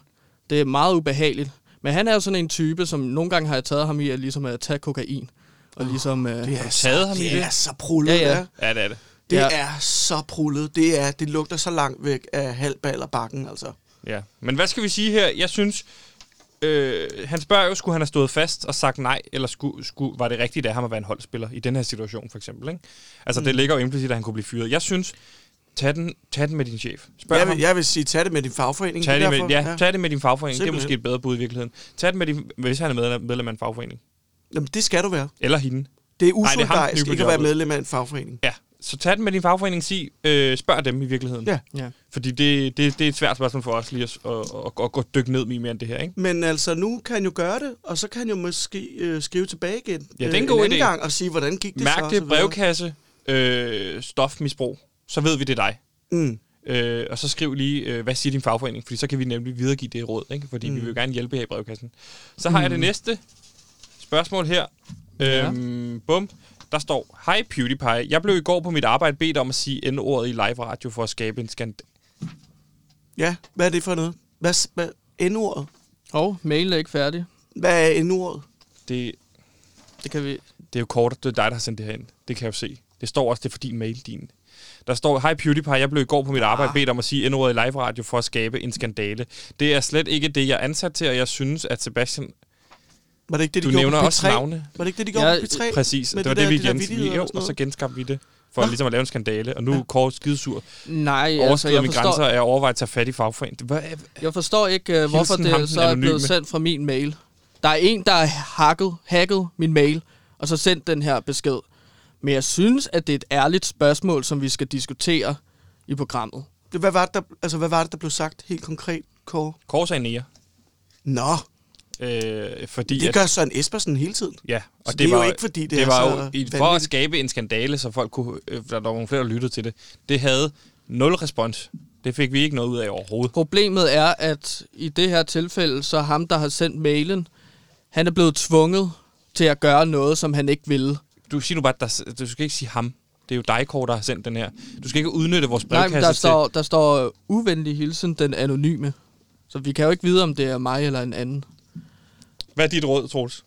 Speaker 2: Det er meget ubehageligt. Men han er jo sådan en type, som nogle gange har jeg taget ham i at, ligesom at tage kokain. Og ligesom, øh,
Speaker 3: Det er,
Speaker 1: taget
Speaker 3: så,
Speaker 1: ham i
Speaker 3: det
Speaker 1: det?
Speaker 3: er så prullet,
Speaker 2: Ja, ja.
Speaker 3: ja.
Speaker 1: Ja, det er det.
Speaker 3: Det
Speaker 2: Ja.
Speaker 3: er så prullet. Det, er, det lugter så langt væk af halvbal og bakken, altså.
Speaker 1: Ja. Men hvad skal vi sige her? Jeg synes, øh, han spørger jo, skulle han have stået fast og sagt nej, eller skulle, skulle, var det rigtigt af ham at være en holdspiller i den her situation, for eksempel? Ikke? Altså, mm. det ligger jo implicit, at han kunne blive fyret. Jeg synes, tag den, tag den med din chef. Spørg
Speaker 3: Jeg
Speaker 1: ham.
Speaker 3: vil, jeg vil sige, tag det med din fagforening.
Speaker 1: Tag
Speaker 3: er
Speaker 1: det, med,
Speaker 3: derfor-
Speaker 1: ja, tag det med din fagforening. Det er
Speaker 3: Simpelthen.
Speaker 1: måske et bedre bud i virkeligheden. Tag det med din, hvis han er medlem, medlem af en fagforening.
Speaker 3: Jamen, det skal du være.
Speaker 1: Eller hende.
Speaker 3: Det er
Speaker 1: det er ham, den
Speaker 3: usolidarisk
Speaker 1: nye
Speaker 3: ikke at være
Speaker 1: jobbet.
Speaker 3: medlem af en fagforening.
Speaker 1: Ja. Så tag den med din fagforening. Sig, øh, spørg dem i virkeligheden.
Speaker 3: Ja.
Speaker 2: ja.
Speaker 1: Fordi det, det, det er et svært spørgsmål for os lige at, at, at, at, at dykke ned i mere end det her, ikke?
Speaker 3: Men altså, nu kan han jo gøre det, og så kan han jo måske øh, skrive tilbage igen.
Speaker 1: Ja, det er en
Speaker 3: øh,
Speaker 1: god
Speaker 3: anden
Speaker 1: idé.
Speaker 3: gang og sige, hvordan gik det så?
Speaker 1: Mærk
Speaker 3: og
Speaker 1: det,
Speaker 3: så videre.
Speaker 1: brevkasse, øh, stofmisbrug, så ved vi, det er dig.
Speaker 3: Mm.
Speaker 1: Øh, og så skriv lige, øh, hvad siger din fagforening, fordi så kan vi nemlig videregive det råd, ikke? fordi mm. vi vil jo gerne hjælpe her i brevkassen. Så har jeg det næste spørgsmål her.
Speaker 2: Ja.
Speaker 1: Øhm, Bum. Der står, Hej PewDiePie, jeg blev i går på mit arbejde bedt om at sige N-ordet i live radio for at skabe en skandal.
Speaker 3: Ja, hvad er det for noget? Hvad, s- hvad N-ordet?
Speaker 2: Og mailen er ikke færdig.
Speaker 3: Hvad er N-ordet?
Speaker 1: Det,
Speaker 2: Det kan vi...
Speaker 1: Det er jo kort, det er dig, der har sendt det her ind. Det kan jeg jo se. Det står også, det er for din mail, din. Der står, hej PewDiePie, jeg blev i går på mit arbejde bedt om at sige endordet i live radio for at skabe en skandale. Det er slet ikke det, jeg er ansat til, og jeg synes, at Sebastian...
Speaker 3: Var det ikke det, de
Speaker 1: Du
Speaker 3: gjorde
Speaker 1: nævner
Speaker 3: på P3?
Speaker 1: også navne.
Speaker 3: Var det ikke det, de gjorde
Speaker 2: Ja,
Speaker 3: på P3?
Speaker 1: Præcis,
Speaker 3: Med
Speaker 1: det var det, vi
Speaker 3: der-
Speaker 1: igen...
Speaker 3: vittigheder
Speaker 1: Vi, jo,
Speaker 3: sådan
Speaker 1: og så
Speaker 3: noget?
Speaker 1: genskabte vi det, for ligesom at lave en skandale. Og nu er Kåre skidesur.
Speaker 2: Nej, altså,
Speaker 1: Overskrider
Speaker 2: jeg
Speaker 1: mine
Speaker 2: forstår,
Speaker 1: grænser og jeg overvejer at tage fat i fagforeningen. Hvad,
Speaker 2: Jeg forstår ikke, uh, hvorfor
Speaker 1: Hilsen ham, den
Speaker 2: det så er
Speaker 1: anonyme.
Speaker 2: blevet sendt fra min mail. Der er en, der har hacket, hacket min mail, og så sendt den her besked. Men jeg synes, at det er et ærligt spørgsmål, som vi skal diskutere i programmet.
Speaker 3: Det- Hvad var, det, der, altså, hvad var det, der blev sagt helt konkret, Kåre?
Speaker 1: Kåre sagde nære.
Speaker 3: Nå,
Speaker 1: Øh, fordi
Speaker 3: det
Speaker 1: at-
Speaker 3: gør Søren Espersen hele tiden.
Speaker 1: Ja,
Speaker 3: Så det er jo ikke, fordi det
Speaker 1: det
Speaker 3: er
Speaker 1: var
Speaker 3: så
Speaker 1: jo i, for at
Speaker 3: vanvittigt.
Speaker 1: skabe en skandale, så folk kunne, øh, der var nogle flere, der lyttede til det. Det havde nul respons. Det fik vi ikke noget ud af overhovedet.
Speaker 2: Problemet er, at i det her tilfælde, så er ham, der har sendt mailen, han er blevet tvunget til at gøre noget, som han ikke ville.
Speaker 1: Du siger nu bare, at der, du skal ikke sige ham. Det er jo dig, Kåre, der har sendt den her. Du skal ikke udnytte vores
Speaker 2: Nej,
Speaker 1: brevkasse
Speaker 2: men der
Speaker 1: til...
Speaker 2: står, der står øh, uvenlig hilsen, den anonyme. Så vi kan jo ikke vide, om det er mig eller en anden.
Speaker 1: Hvad er dit råd, Troels?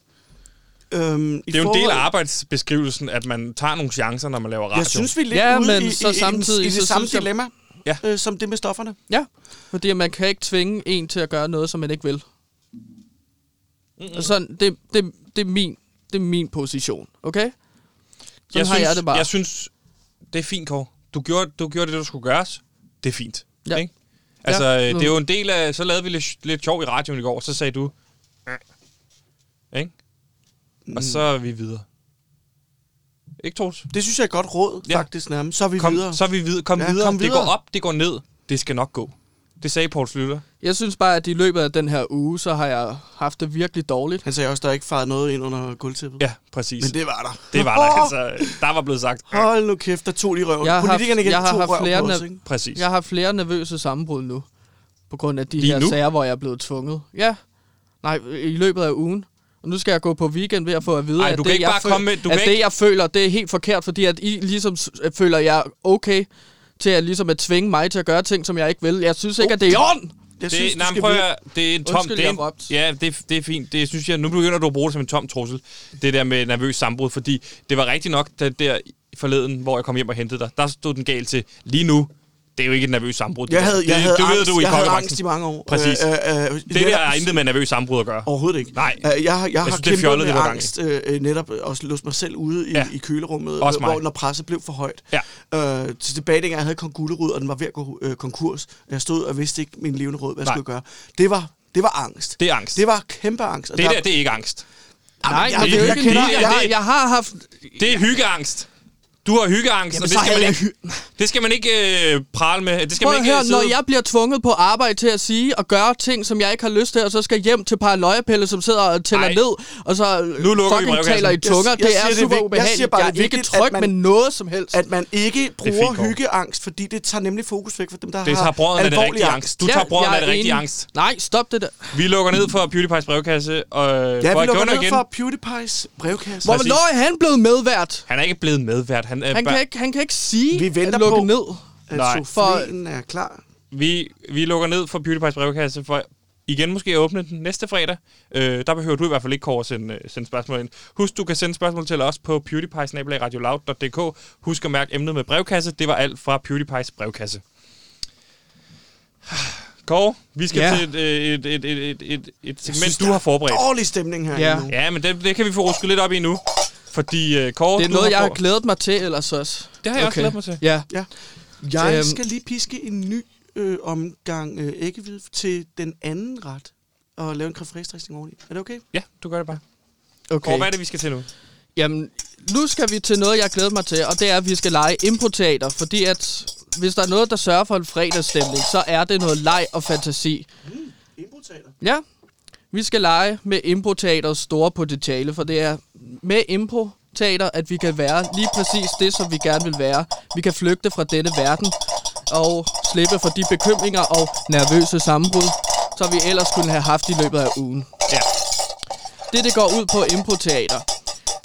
Speaker 3: Øhm,
Speaker 1: Det er jo en del af arbejdsbeskrivelsen, at man tager nogle chancer, når man laver radio.
Speaker 3: Jeg synes, vi er lidt
Speaker 2: Ja,
Speaker 3: ude
Speaker 2: men
Speaker 3: i,
Speaker 2: så
Speaker 3: i,
Speaker 2: samtidig,
Speaker 3: i, i
Speaker 2: så
Speaker 3: det samme
Speaker 2: synes jeg-
Speaker 3: dilemma,
Speaker 1: Ja.
Speaker 3: ja. øh, som det med stofferne.
Speaker 2: Ja, fordi man kan ikke tvinge en til at gøre noget, som man ikke vil. Mm-hmm. Sådan, det, det, det, er min, det er min position, okay? Sådan
Speaker 1: jeg
Speaker 2: har
Speaker 1: synes,
Speaker 2: jeg det bare.
Speaker 1: Jeg synes, det er fint, Kåre. Du gjorde, du gjorde det, der skulle gøres. Det er fint.
Speaker 2: Ja.
Speaker 1: Ikke? Altså,
Speaker 2: Ja. Mm.
Speaker 1: ja. det er jo en del af... Så lavede vi lidt, lidt sjov i radioen i går, og så sagde du... "Øh." Ikke?
Speaker 2: Mm.
Speaker 1: Og så er vi videre. Ikke, Troels?
Speaker 3: Det synes jeg er et godt råd,
Speaker 1: Ja.
Speaker 3: ja. faktisk nærmest. Så er vi
Speaker 1: Kom,
Speaker 3: videre.
Speaker 1: så er vi videre. Kom, ja,
Speaker 3: Ja,
Speaker 1: videre.
Speaker 3: kom
Speaker 1: Det
Speaker 3: videre.
Speaker 1: går op, det går ned. Det skal nok gå. Det sagde Poul Slytter.
Speaker 2: Jeg synes bare, at i løbet af den her uge, så har jeg haft det virkelig dårligt.
Speaker 3: Han sagde også, der er ikke faret noget ind under gulvtæppet.
Speaker 1: Ja, præcis.
Speaker 3: Men
Speaker 1: det,
Speaker 3: det var der.
Speaker 1: det var der altså. Der var blevet sagt. "Øh."
Speaker 3: Hold nu kæft, der tog de røven.
Speaker 2: Jeg har haft-
Speaker 3: Politikerne
Speaker 2: jeg
Speaker 3: igen
Speaker 2: har
Speaker 3: to
Speaker 2: haft
Speaker 3: røv
Speaker 2: flere
Speaker 3: på os,
Speaker 2: nerv-
Speaker 3: ikke?
Speaker 1: Præcis.
Speaker 2: Jeg har haft flere nervøse sammenbrud nu, på grund af de
Speaker 1: Lige
Speaker 2: her
Speaker 1: nu?
Speaker 2: sager, hvor jeg er blevet tvunget. Ja, nej, i løbet af ugen. Og nu skal jeg gå på weekend ved at få at vide,
Speaker 1: Ej,
Speaker 2: at,
Speaker 1: du
Speaker 2: det,
Speaker 1: kan ikke
Speaker 2: jeg
Speaker 1: bare komme med- du
Speaker 2: at
Speaker 1: kan
Speaker 2: det,
Speaker 1: ikke-
Speaker 2: jeg føler, det er helt forkert, fordi at I ligesom s- føler, jeg er okay til at, ligesom at tvinge mig til at gøre ting, som jeg ikke vil. Jeg synes ikke, at det
Speaker 1: Oh,
Speaker 2: er i orden.
Speaker 3: Jeg
Speaker 1: det,
Speaker 3: synes,
Speaker 1: synes,
Speaker 3: du
Speaker 1: nej, men
Speaker 3: skal
Speaker 1: prøv at
Speaker 3: videre.
Speaker 1: høre, det er en tom...
Speaker 2: Undskyld,
Speaker 1: det er
Speaker 2: jeg
Speaker 1: en,
Speaker 2: råbte.
Speaker 1: Ja, det, det er fint. Det synes jeg, nu begynder du at bruge det som en tom trussel. Det der med nervøs sambrud, fordi det var rigtigt nok, da der forleden, hvor jeg kom hjem og hentede dig, der stod den galt til lige nu. Det er jo ikke et nervøs sambrud. det
Speaker 3: Jeg
Speaker 1: der.
Speaker 3: havde,
Speaker 1: det,
Speaker 3: jeg havde
Speaker 1: det,
Speaker 3: angst,
Speaker 1: ved du i
Speaker 3: jeg havde
Speaker 1: kongebranchen.
Speaker 3: angst i mange år.
Speaker 1: Præcis.
Speaker 3: Øh, øh, øh,
Speaker 1: Det der
Speaker 3: netop-
Speaker 1: er intet med nervøs sambrud at gøre.
Speaker 3: Overhovedet ikke.
Speaker 1: Nej.
Speaker 3: Øh, Jeg, har- jeg har
Speaker 1: synes, det er
Speaker 3: kæmpet
Speaker 1: fjollet, det
Speaker 3: med
Speaker 1: var
Speaker 3: angst, øh, øh, netop også låst mig selv ude i,
Speaker 1: Ja.
Speaker 3: ja. i kølerummet,
Speaker 1: Også
Speaker 3: øh, hvor,
Speaker 1: mig.
Speaker 3: når presset blev for højt.
Speaker 1: Ja.
Speaker 3: Øh, til tilbage dengang, jeg havde kong Gullerud, og den var ved at gå øh, konkurs. Jeg stod og vidste ikke min levende råd, hvad jeg
Speaker 1: Nej.
Speaker 3: skulle gøre. Det var, det var angst.
Speaker 1: Det er angst.
Speaker 3: Det var kæmpe angst. og
Speaker 1: Det
Speaker 3: der-
Speaker 1: der, det er ikke angst.
Speaker 3: Jamen,
Speaker 2: Nej,
Speaker 3: jeg-
Speaker 2: men det er jo
Speaker 3: jeg
Speaker 2: ikke...
Speaker 3: kender-
Speaker 2: Jeg, jeg,
Speaker 1: det-
Speaker 2: har, jeg har haft...
Speaker 1: Det er hyggeangst. Du har hyggeangst,
Speaker 3: Jamen,
Speaker 1: og
Speaker 3: så
Speaker 1: det
Speaker 3: har
Speaker 1: skal,
Speaker 3: jeg
Speaker 1: man
Speaker 3: da
Speaker 1: ikke, det skal man ikke øh, prale med. Det skal
Speaker 2: Prøv
Speaker 1: man
Speaker 2: at
Speaker 1: ikke
Speaker 2: høre,
Speaker 1: øh,
Speaker 2: når
Speaker 1: sidde-
Speaker 2: jeg bliver tvunget på arbejde til at sige og gøre ting, som jeg ikke har lyst til, og så skal hjem til paranoiapille, som sidder og tæller
Speaker 1: Ej.
Speaker 2: ned, og så
Speaker 1: Nu lukker vi
Speaker 2: fucking
Speaker 1: brevkassen.
Speaker 2: taler i
Speaker 1: Jeg-
Speaker 2: tunger,
Speaker 3: jeg
Speaker 2: det
Speaker 3: siger,
Speaker 2: er
Speaker 3: det er
Speaker 2: super
Speaker 3: vig- jeg
Speaker 2: ubehageligt.
Speaker 3: siger bare,
Speaker 2: jeg
Speaker 3: det er
Speaker 2: er ikke
Speaker 3: vigtigt, at
Speaker 2: tryg med
Speaker 3: man-
Speaker 2: noget som helst.
Speaker 3: at man ikke bruger
Speaker 1: fint, Kåre.
Speaker 3: hyggeangst, fordi det tager nemlig fokus væk fra dem, der
Speaker 1: Det
Speaker 3: har
Speaker 1: tager brødrene af det
Speaker 3: alvorlig
Speaker 1: rigtige angst. Du tager brødrene
Speaker 2: jeg
Speaker 1: af det
Speaker 2: er
Speaker 1: rigtige
Speaker 2: enig.
Speaker 1: angst.
Speaker 2: Nej, stop det der.
Speaker 1: Vi lukker ned for PewDiePie's brevkasse. Og øh,
Speaker 3: Ja, vi lukker
Speaker 1: Gunnar
Speaker 3: ned igen. for PewDiePie's brevkasse.
Speaker 2: Hvor,
Speaker 1: Præcis.
Speaker 2: hvornår er han blevet medvært?
Speaker 1: Han er ikke blevet medvært. Han, øh, er
Speaker 2: Han
Speaker 1: bare-
Speaker 2: kan ikke, han kan ikke sige,
Speaker 3: Vi venter
Speaker 2: at lukke
Speaker 3: på-
Speaker 2: ned.
Speaker 1: Nej.
Speaker 3: at sofien er klar.
Speaker 1: Vi, vi lukker ned for PewDiePie's brevkasse for igen måske at åbne den næste fredag. Øh, der behøver du i hvert fald ikke, Kåre, at sende, øh, sende spørgsmål ind. Husk, du kan sende spørgsmål til os på pewdiepie Husk at mærke emnet med brevkasse. Det var alt fra PewDiePie's brevkasse. Kåre, vi skal
Speaker 2: Ja.
Speaker 1: ja. til et, øh, et, et, et, et, et, et segment,
Speaker 3: synes,
Speaker 1: du
Speaker 3: der
Speaker 1: har forberedt.
Speaker 3: Dårlig stemning her
Speaker 2: Ja.
Speaker 3: ja. nu.
Speaker 1: Ja, men det, det kan vi få rusket lidt op i nu. Fordi øh, Kåre,
Speaker 2: Det er
Speaker 1: du
Speaker 2: noget, jeg har
Speaker 1: for-
Speaker 2: glædet mig til ellers også.
Speaker 1: Det har jeg også glædet mig til.
Speaker 2: Ja.
Speaker 3: Ja. Jeg
Speaker 2: Øhm.
Speaker 3: skal lige piske en ny øh, omgang øh, æggehvide til den anden ret og lave en kræftræsdressing oveni. Er det okay?
Speaker 1: Ja, du gør det bare. Okay.
Speaker 2: Okay.
Speaker 1: Kåre, hvad er det, vi skal til nu?
Speaker 2: Jamen, nu skal vi til noget, jeg glæder mig til, og det er, at vi skal lege improteater, fordi at hvis der er noget, der sørger for en fredagsstemning, så er det noget leg og fantasi.
Speaker 3: Improtaler.
Speaker 2: Ja, vi skal lege med improteaterets store potentiale, for det er med improteater, at vi kan være lige præcis det, som vi gerne vil være. Vi kan flygte fra denne verden og slippe for de bekymringer og nervøse sammenbrud, som vi ellers kunne have haft i løbet af ugen.
Speaker 1: Ja.
Speaker 2: Det, det går ud på improteater,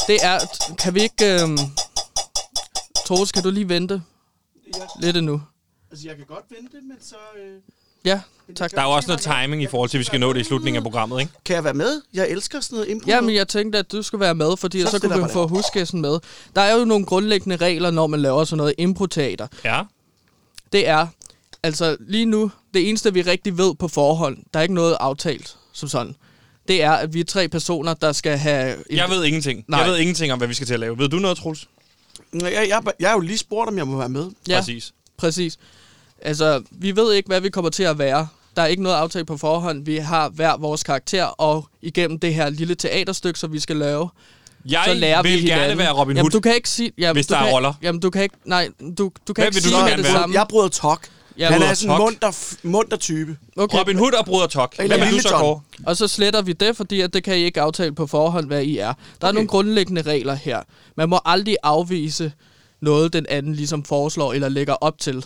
Speaker 2: det er... Kan vi ikke... Øhm, Troels, kan du lige vente
Speaker 3: Jeg,
Speaker 2: lidt endnu?
Speaker 3: altså, jeg kan godt vente, men så... Øh,
Speaker 2: Ja, tak.
Speaker 1: Der er jo også noget timing i forhold til, at vi skal nå det i slutningen af programmet, ikke?
Speaker 3: kan jeg være med? Jeg elsker sådan noget impro.
Speaker 2: Jamen, jeg tænkte, at du skulle være med, fordi så, så
Speaker 3: Så
Speaker 2: kunne
Speaker 3: stiller
Speaker 2: vi
Speaker 3: jeg mig
Speaker 2: få husgæsten med. Der er jo nogle grundlæggende regler, når man laver sådan noget improteater.
Speaker 1: Ja.
Speaker 2: Det er, altså lige nu, det eneste vi rigtig ved på forhånd, der er ikke noget aftalt som sådan, det er, at vi er tre personer, der skal have... en-
Speaker 1: Jeg ved ingenting. Nej.
Speaker 2: Nej.
Speaker 1: Jeg ved ingenting om, hvad vi skal til at lave. Ved du noget, Troels?
Speaker 3: Nå, jeg, jeg, jeg, er jo lige spurgt, om jeg må være med.
Speaker 2: ja, præcis.
Speaker 1: Præcis.
Speaker 2: præcis. Altså, vi ved ikke, hvad vi kommer til at være. Der er ikke noget aftalt på forhånd. Vi har hver vores karakter, og igennem det her lille teaterstykke, som vi skal lave,
Speaker 1: Jeg
Speaker 2: så lærer
Speaker 1: vil
Speaker 2: vi hinanden.
Speaker 1: gerne være Robin
Speaker 2: Jamen,
Speaker 1: Hood.
Speaker 2: du kan ikke sige... Jamen,
Speaker 1: hvis
Speaker 2: du
Speaker 1: der er
Speaker 2: kan,
Speaker 1: roller.
Speaker 2: Jamen, du kan ikke... Nej, du, du kan
Speaker 1: Hvad
Speaker 2: ikke
Speaker 1: vil du
Speaker 2: sige
Speaker 1: så
Speaker 2: med
Speaker 1: gerne
Speaker 2: det
Speaker 1: være?
Speaker 2: samme.
Speaker 3: Jeg bryder tok.
Speaker 2: Jeg
Speaker 3: Han
Speaker 1: bryder
Speaker 3: er sådan en
Speaker 1: tok.
Speaker 3: munter, f- munter type.
Speaker 2: Okay.
Speaker 1: Robin Hood og Bruder Tok. Hvad
Speaker 3: Eller
Speaker 1: vil du
Speaker 3: Lille
Speaker 1: så,
Speaker 3: Tom.
Speaker 1: Kåre?
Speaker 2: Og så sletter vi det, fordi at det kan I ikke aftale på forhånd, hvad I er. Der okay. er nogle grundlæggende regler her. Man må aldrig afvise noget, den anden ligesom foreslår eller lægger op til.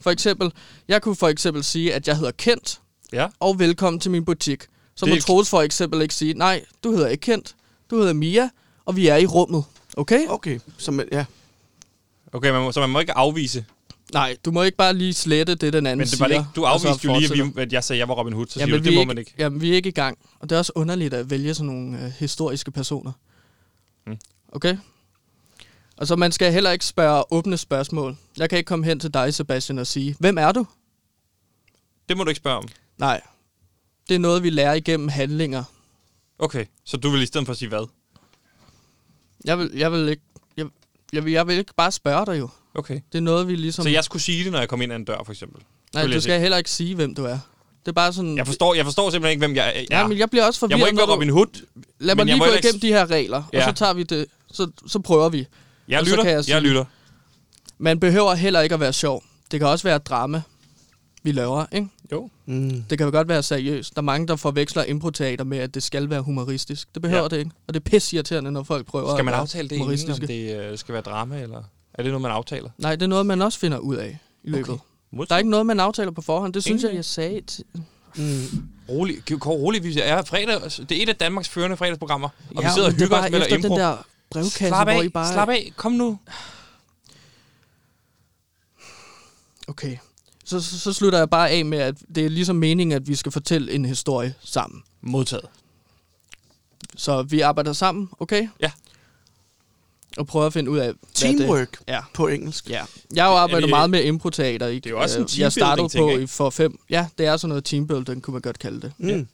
Speaker 2: For eksempel, jeg kunne for eksempel sige, at jeg hedder Kent,
Speaker 1: Ja.
Speaker 2: og velkommen til min butik. Så
Speaker 1: Det
Speaker 2: må
Speaker 1: er-
Speaker 2: Troels for eksempel ikke sige, nej, du hedder ikke Kent, du hedder Mia, og vi er i rummet. Okay?
Speaker 3: Okay, så, men- ja. Mm.
Speaker 1: Okay, man må, så man må ikke afvise.
Speaker 2: Nej, du må ikke bare lige slette det, den anden
Speaker 1: Men det var det
Speaker 2: siger,
Speaker 1: ikke, du
Speaker 2: og så
Speaker 1: afviste jo lige,
Speaker 2: fortsætter.
Speaker 1: at, vi, at jeg sagde, at jeg var Robin Hood, så siger
Speaker 2: Jamen,
Speaker 1: du,
Speaker 2: vi
Speaker 1: det
Speaker 2: er
Speaker 1: må man ikke.
Speaker 2: Jamen, vi er ikke i gang. Og det er også underligt at vælge sådan nogle øh, historiske personer.
Speaker 1: Mm.
Speaker 2: Okay? Og så man skal heller ikke spørge åbne spørgsmål. Jeg kan ikke komme hen til dig, Sebastian, og sige, hvem er du?
Speaker 1: Det må du ikke spørge om.
Speaker 2: Nej. Det er noget, vi lærer igennem handlinger.
Speaker 1: Okay, så du vil i stedet for sige hvad?
Speaker 2: Jeg vil, jeg vil ikke... Jeg, jeg, vil, jeg vil ikke bare spørge dig jo.
Speaker 1: Okay.
Speaker 2: Det er noget, vi ligesom...
Speaker 1: Så jeg skulle sige det, når jeg kom ind ad en dør, for eksempel.
Speaker 2: Nej,
Speaker 1: vil
Speaker 2: du
Speaker 1: jeg
Speaker 2: skal
Speaker 1: sige.
Speaker 2: heller ikke sige, hvem du er. Det er bare sådan...
Speaker 1: Jeg forstår, jeg forstår simpelthen ikke, hvem jeg er.
Speaker 2: Ja, men jeg bliver også
Speaker 1: jeg
Speaker 2: forvirret.
Speaker 1: må ikke
Speaker 2: når
Speaker 1: være
Speaker 2: du-
Speaker 1: Robin Hood.
Speaker 2: Lad mig
Speaker 1: men jeg
Speaker 2: lige
Speaker 1: må
Speaker 2: gå
Speaker 1: heller ikke
Speaker 2: igennem de her regler, ja.
Speaker 1: Ja.
Speaker 2: og så tager vi det. Så, så prøver vi.
Speaker 1: Jeg
Speaker 2: Og så
Speaker 1: lytter,
Speaker 2: kan jeg
Speaker 1: jeg,
Speaker 2: sige-
Speaker 1: jeg lytter.
Speaker 2: Man behøver heller ikke at være sjov. Det kan også være drama, vi laver, ikke?
Speaker 1: Jo.
Speaker 3: Mm.
Speaker 2: Det kan jo godt være seriøst. Der er mange, der forveksler improteater med, at det skal være humoristisk. Det behøver ja.
Speaker 1: Ja.
Speaker 2: det ikke. Og det er pisseirriterende, når folk prøver
Speaker 1: Skal man
Speaker 2: at være
Speaker 1: aftale det, inden, om
Speaker 2: humoristiske.
Speaker 1: det øh, skal være drama, eller er det noget, man aftaler?
Speaker 2: Nej, det er noget, man også finder ud af i løbet. Okay. Der er ikke noget, man aftaler på forhånd. Det synes
Speaker 1: Ingen.
Speaker 2: jeg, jeg sagde. Til.
Speaker 3: Mm.
Speaker 1: Rolig, Kåre, rolig, vi er fredag, altså, det er et af Danmarks førende fredagsprogrammer, og vi
Speaker 2: Ja,
Speaker 1: sidder og
Speaker 2: men det er
Speaker 1: hygger os
Speaker 2: bare
Speaker 1: med
Speaker 2: efter
Speaker 1: at impro.
Speaker 2: den der brevkasse,
Speaker 1: slap af,
Speaker 2: hvor I bare...
Speaker 1: slap af, kom nu.
Speaker 2: Okay. Så, så, så slutter jeg bare af med, at det er ligesom meningen, at vi skal fortælle en historie sammen.
Speaker 1: Modtaget.
Speaker 2: Så vi arbejder sammen, okay?
Speaker 1: Ja.
Speaker 2: Og prøver at finde ud af, hvad
Speaker 3: Teamwork
Speaker 2: Det, ja.
Speaker 3: på engelsk.
Speaker 2: Ja. Jeg har jo arbejdet
Speaker 1: det-
Speaker 2: meget med improteater. Det
Speaker 1: Øh, er jo også en
Speaker 2: Jeg startede
Speaker 1: teambuilding,
Speaker 2: på
Speaker 1: tænker jeg.
Speaker 2: i for fem. Ja, det er sådan noget teambuilding, kunne man godt kalde det.
Speaker 3: Mm.
Speaker 1: Ja.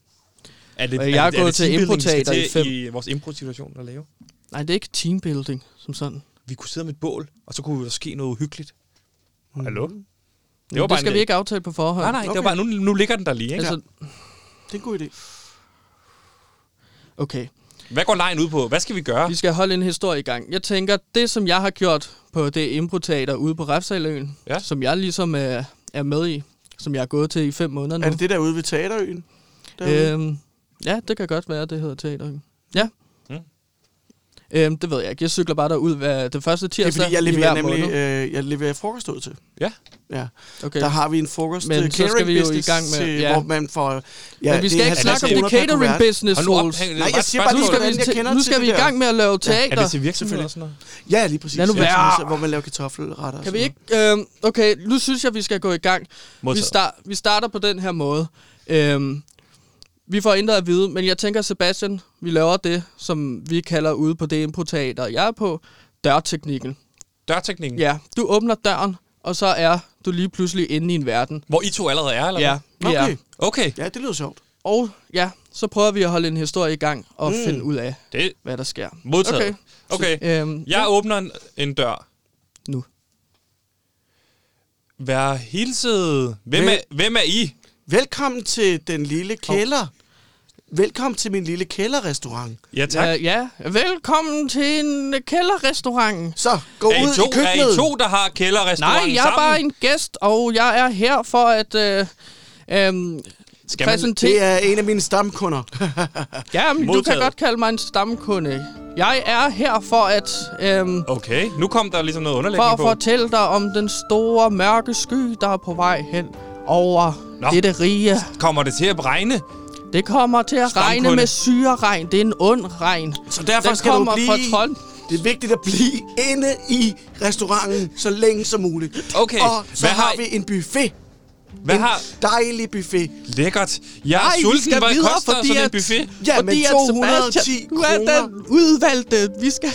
Speaker 1: Er det,
Speaker 2: Og Øh, jeg er gået til
Speaker 1: teambuilding, vi skal
Speaker 2: improteater i fem.
Speaker 1: i vores impro-situation at lave?
Speaker 2: Nej, det er ikke teambuilding som sådan.
Speaker 1: Vi kunne sidde med et bål, og så kunne der ske noget uhyggeligt.
Speaker 3: Mm.
Speaker 1: Hallo?
Speaker 2: Det, det
Speaker 1: bare en
Speaker 2: skal vi
Speaker 1: idé.
Speaker 2: ikke aftale på forhånd.
Speaker 1: Nej, nej, okay. det var bare, nu, nu ligger den der lige. Ikke?
Speaker 2: Altså,
Speaker 1: Altså,
Speaker 3: Det er en god idé.
Speaker 2: okay.
Speaker 1: Hvad går lejen ud på? Hvad skal vi gøre?
Speaker 2: Vi skal holde en historie i gang. Jeg tænker, det som jeg har gjort på det improteater ude på Refsaløen,
Speaker 1: Ja.
Speaker 2: som jeg ligesom øh, er med i, som jeg har gået til i fem måneder nu.
Speaker 3: Er det det derude ved Teaterøen? Derude?
Speaker 2: Øhm, ja, det kan godt være, det hedder teater. Ja.
Speaker 1: Mm.
Speaker 2: Øhm, det ved jeg ikke. Jeg cykler bare derud hver, den første
Speaker 3: det er
Speaker 2: tirsdag
Speaker 3: fordi, jeg
Speaker 2: i
Speaker 3: leverer,
Speaker 2: hver
Speaker 3: nemlig,
Speaker 2: måned.
Speaker 3: øh, jeg leverer frokost ud til.
Speaker 1: Ja.
Speaker 3: ja.
Speaker 2: Okay.
Speaker 3: Der har vi en frokost
Speaker 2: Men
Speaker 3: øh,
Speaker 2: så skal
Speaker 3: catering
Speaker 2: vi jo i
Speaker 3: business,
Speaker 2: gang med-
Speaker 3: øh,
Speaker 2: ja.
Speaker 3: Hvor man får...
Speaker 2: Ja, Men vi skal
Speaker 3: det er
Speaker 2: ikke
Speaker 1: 50
Speaker 2: snakke om det
Speaker 3: kroner per
Speaker 2: catering
Speaker 3: kuvert.
Speaker 2: business, Troels.
Speaker 1: hæng-
Speaker 3: Nej, jeg
Speaker 1: bare et
Speaker 3: siger bare,
Speaker 2: Nu
Speaker 1: spørgsmål.
Speaker 2: skal
Speaker 3: Hvordan
Speaker 2: vi,
Speaker 3: jeg
Speaker 2: til,
Speaker 3: kender
Speaker 2: nu
Speaker 3: til
Speaker 2: skal
Speaker 3: det
Speaker 2: vi i
Speaker 3: der.
Speaker 2: gang med at lave
Speaker 1: Er
Speaker 2: teater.
Speaker 1: det til virksomheder og sådan noget?
Speaker 3: Ja, lige præcis.
Speaker 2: Lad nu
Speaker 3: Ja,
Speaker 2: være.
Speaker 3: sådan noget, Hvor man laver kartoffelretter. og
Speaker 2: Kan
Speaker 3: sådan
Speaker 2: vi ikke?
Speaker 3: noget.
Speaker 2: Øhm, okay, nu synes jeg, vi skal gå i gang. Vi,
Speaker 1: Modtaget.
Speaker 2: start, vi starter på den her måde. Øhm, vi får intet at vide, men jeg tænker, Sebastian, vi laver det, som vi kalder ude på det improteater, jeg er på, dørteknikken.
Speaker 1: Dørteknikken?
Speaker 2: Ja, du åbner døren, og så er du lige pludselig inde i en verden.
Speaker 1: Hvor I to allerede er, eller
Speaker 2: Ja, vi
Speaker 3: Okay.
Speaker 2: er.
Speaker 1: Okay,
Speaker 3: Ja, det lyder sjovt.
Speaker 2: Og ja, så prøver vi at holde en historie i gang og mm. finde ud af,
Speaker 1: det er
Speaker 2: hvad der sker.
Speaker 1: modtaget. Okay. okay.
Speaker 2: Øhm,
Speaker 1: Jeg åbner en, en dør.
Speaker 2: nu.
Speaker 1: Vær hilset. Hvem
Speaker 3: Hvem-
Speaker 1: er, hvem er I?
Speaker 3: Velkommen til den lille kælder. Velkommen til min lille kælderrestaurant.
Speaker 1: Ja, tak.
Speaker 2: Øh, ja, velkommen til en øh, kælderrestaurant.
Speaker 3: Så, gå
Speaker 1: er,
Speaker 3: ud
Speaker 1: I to,
Speaker 3: i
Speaker 1: er I
Speaker 3: køkkenet.
Speaker 1: to, der har kælderrestauranten
Speaker 2: Nej, jeg er
Speaker 1: sammen?
Speaker 2: bare en gæst, og jeg er her for at øh, øh,
Speaker 1: Skal man-
Speaker 2: præsentere...
Speaker 3: Det er en af mine stamkunder.
Speaker 2: Ja, men du kan
Speaker 1: Modtaget.
Speaker 2: godt kalde mig en stamkunde. Jeg er her for at... Øh,
Speaker 1: Okay, nu kom der ligesom noget
Speaker 2: for at
Speaker 1: underlægning på.
Speaker 2: fortælle dig om den store mørke sky, der er på vej hen over Nå.
Speaker 1: Nå.
Speaker 2: dette rige.
Speaker 1: Kommer det til at regne?
Speaker 2: Det kommer til at
Speaker 1: Stamkunde.
Speaker 2: regne med syreregn. Det er en ond regn.
Speaker 3: Så derfor
Speaker 2: Den
Speaker 3: skal du
Speaker 2: kommer
Speaker 3: blive...
Speaker 2: fra Trond.
Speaker 3: Det er vigtigt at blive inde i restauranten så længe som muligt.
Speaker 1: Okay,
Speaker 3: Og så
Speaker 1: hvad
Speaker 3: har,
Speaker 1: har I-
Speaker 3: vi en buffet.
Speaker 1: Hvad
Speaker 3: en
Speaker 1: har...
Speaker 3: dejlig buffet.
Speaker 1: Lækkert. Jeg er
Speaker 2: Nej, vi
Speaker 1: sulten.
Speaker 2: skal
Speaker 1: Hvad
Speaker 2: videre,
Speaker 1: koster
Speaker 2: fordi
Speaker 1: sådan en
Speaker 2: at-
Speaker 1: buffet?
Speaker 3: Ja,
Speaker 2: Fordi
Speaker 3: men
Speaker 2: at
Speaker 3: 210
Speaker 2: Sebastian, Du er
Speaker 3: kroner.
Speaker 2: den udvalgte. Vi skal...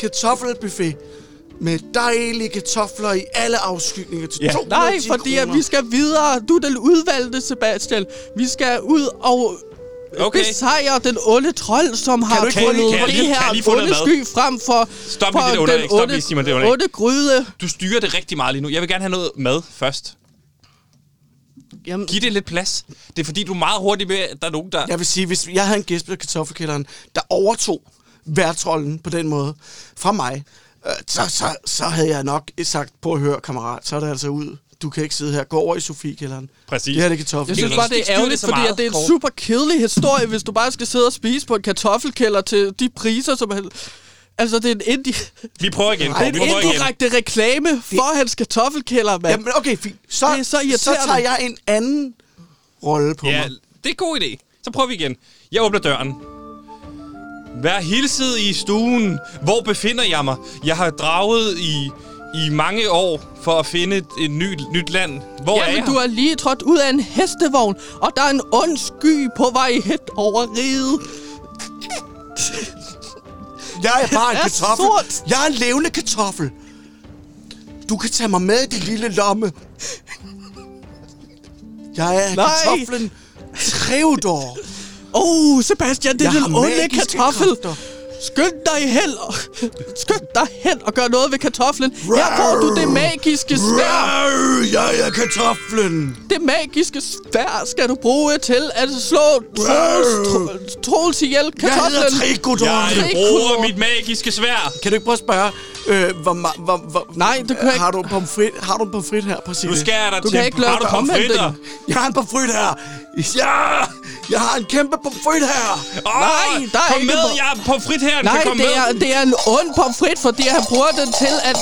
Speaker 3: Kartoffelbuffet. Med dejlige kartofler i alle afskygninger til
Speaker 1: Ja.
Speaker 3: ja. 210
Speaker 2: Nej, fordi
Speaker 3: kroner.
Speaker 2: at vi skal videre. Du er den udvalgte, Sebastian. Vi skal ud og okay.
Speaker 1: Okay.
Speaker 2: besejre den onde trold, som har
Speaker 3: du ikke få
Speaker 2: tryllet
Speaker 3: lige- kan jeg
Speaker 2: det
Speaker 1: lige- kan
Speaker 2: her
Speaker 1: jeg lige få noget
Speaker 2: onde
Speaker 1: mad?
Speaker 2: sky frem for,
Speaker 1: Stop
Speaker 2: for
Speaker 1: med det der
Speaker 2: den
Speaker 1: underlæg. Stop lige, Simon, det
Speaker 2: onde,
Speaker 1: underlæg.
Speaker 2: onde gryde.
Speaker 1: Du styrer det rigtig meget lige nu. Jeg vil gerne have noget mad først.
Speaker 2: Jamen,
Speaker 1: Giv det lidt plads. Det er fordi, du er meget hurtig med, at der er nogen, der...
Speaker 3: Jeg vil sige, hvis jeg havde en gæst på kartoffelkælderen, der overtog værtrollen på den måde fra mig, øh, så, så, så havde jeg nok sagt, på at høre, kammerat, så er det altså ud. Du kan ikke sidde her. Gå over i Sofie-kælderen.
Speaker 1: Præcis.
Speaker 3: Det her det er kartoffel.
Speaker 2: jeg synes bare, det
Speaker 1: ikke
Speaker 2: er
Speaker 1: styre
Speaker 2: ærgerligt,
Speaker 1: det så
Speaker 2: fordi
Speaker 1: meget,
Speaker 2: at det er en
Speaker 1: Kåre.
Speaker 2: super kedelig historie, hvis du bare skal sidde og spise på en kartoffelkælder til de priser, som han... Altså, det er en, indi-
Speaker 1: Vi prøver igen.
Speaker 2: det
Speaker 1: Kåre.
Speaker 2: er
Speaker 1: Vi
Speaker 2: en
Speaker 1: prøver igen.
Speaker 2: indirekte reklame for hans kartoffelkælder, mand.
Speaker 3: Jamen, okay, fint. Så,
Speaker 2: Det er så irriterende.
Speaker 3: så tager jeg en anden rolle på
Speaker 1: Ja,
Speaker 3: mig.
Speaker 1: det er en god idé. Så prøver vi igen. Jeg åbner døren. Vær hilset i stuen. Hvor befinder jeg mig? Jeg har draget i i mange år for at finde et, et ny, nyt land. Hvor er
Speaker 2: Jamen,
Speaker 1: jeg?
Speaker 2: du er lige trådt ud af en hestevogn, og der er en ond sky på vej hen over riget.
Speaker 3: Jeg er bare en
Speaker 2: er
Speaker 3: kartoffel.
Speaker 2: sort.
Speaker 3: Jeg er en levende kartoffel. Du kan tage mig med, din lille lomme. Jeg er
Speaker 2: Nej.
Speaker 3: kartoflen Treudor.
Speaker 2: Åh, oh, Sebastian, det er
Speaker 3: Jeg
Speaker 2: den
Speaker 3: har
Speaker 2: onde
Speaker 3: magiske
Speaker 2: kartoffel.
Speaker 3: kræfter.
Speaker 2: Skynd dig hen, og- skynd dig hen og gør noget ved kartoflen. Her får du det magiske svær.
Speaker 3: Øh, Jeg er kartoflen.
Speaker 2: Det magiske svær skal du bruge til at slå Troels, Troels ihjel.
Speaker 3: Jeg hedder
Speaker 2: Kartoflen.
Speaker 3: Trigodor.
Speaker 2: Jeg-
Speaker 1: Jeg
Speaker 2: ikke
Speaker 1: bruger
Speaker 2: kunne-
Speaker 1: mit magiske svær.
Speaker 3: Kan du ikke prøve at spørge, øh, hvor, ma- hvor, hvor,
Speaker 2: Nej, det kan jeg
Speaker 3: har
Speaker 2: ikke.
Speaker 3: du en pomfrit, har du en pomfrit her, præcis?
Speaker 1: Nu skærer jeg dig
Speaker 2: Du
Speaker 1: til.
Speaker 2: kan ikke lave
Speaker 1: Har du
Speaker 2: det omvendt,
Speaker 1: pomfritter?
Speaker 2: ikke?
Speaker 3: Jeg har en pomfrit her. Ja, jeg har en kæmpe pomfrit her.
Speaker 1: Åh,
Speaker 2: Nej, der er
Speaker 1: kom
Speaker 2: ikke
Speaker 1: med,
Speaker 2: en-
Speaker 1: jeg er pomfrit her. Den
Speaker 2: Nej,
Speaker 1: kan komme
Speaker 2: det er,
Speaker 1: med.
Speaker 2: det er en ond pomfrit, fordi han bruger den til at...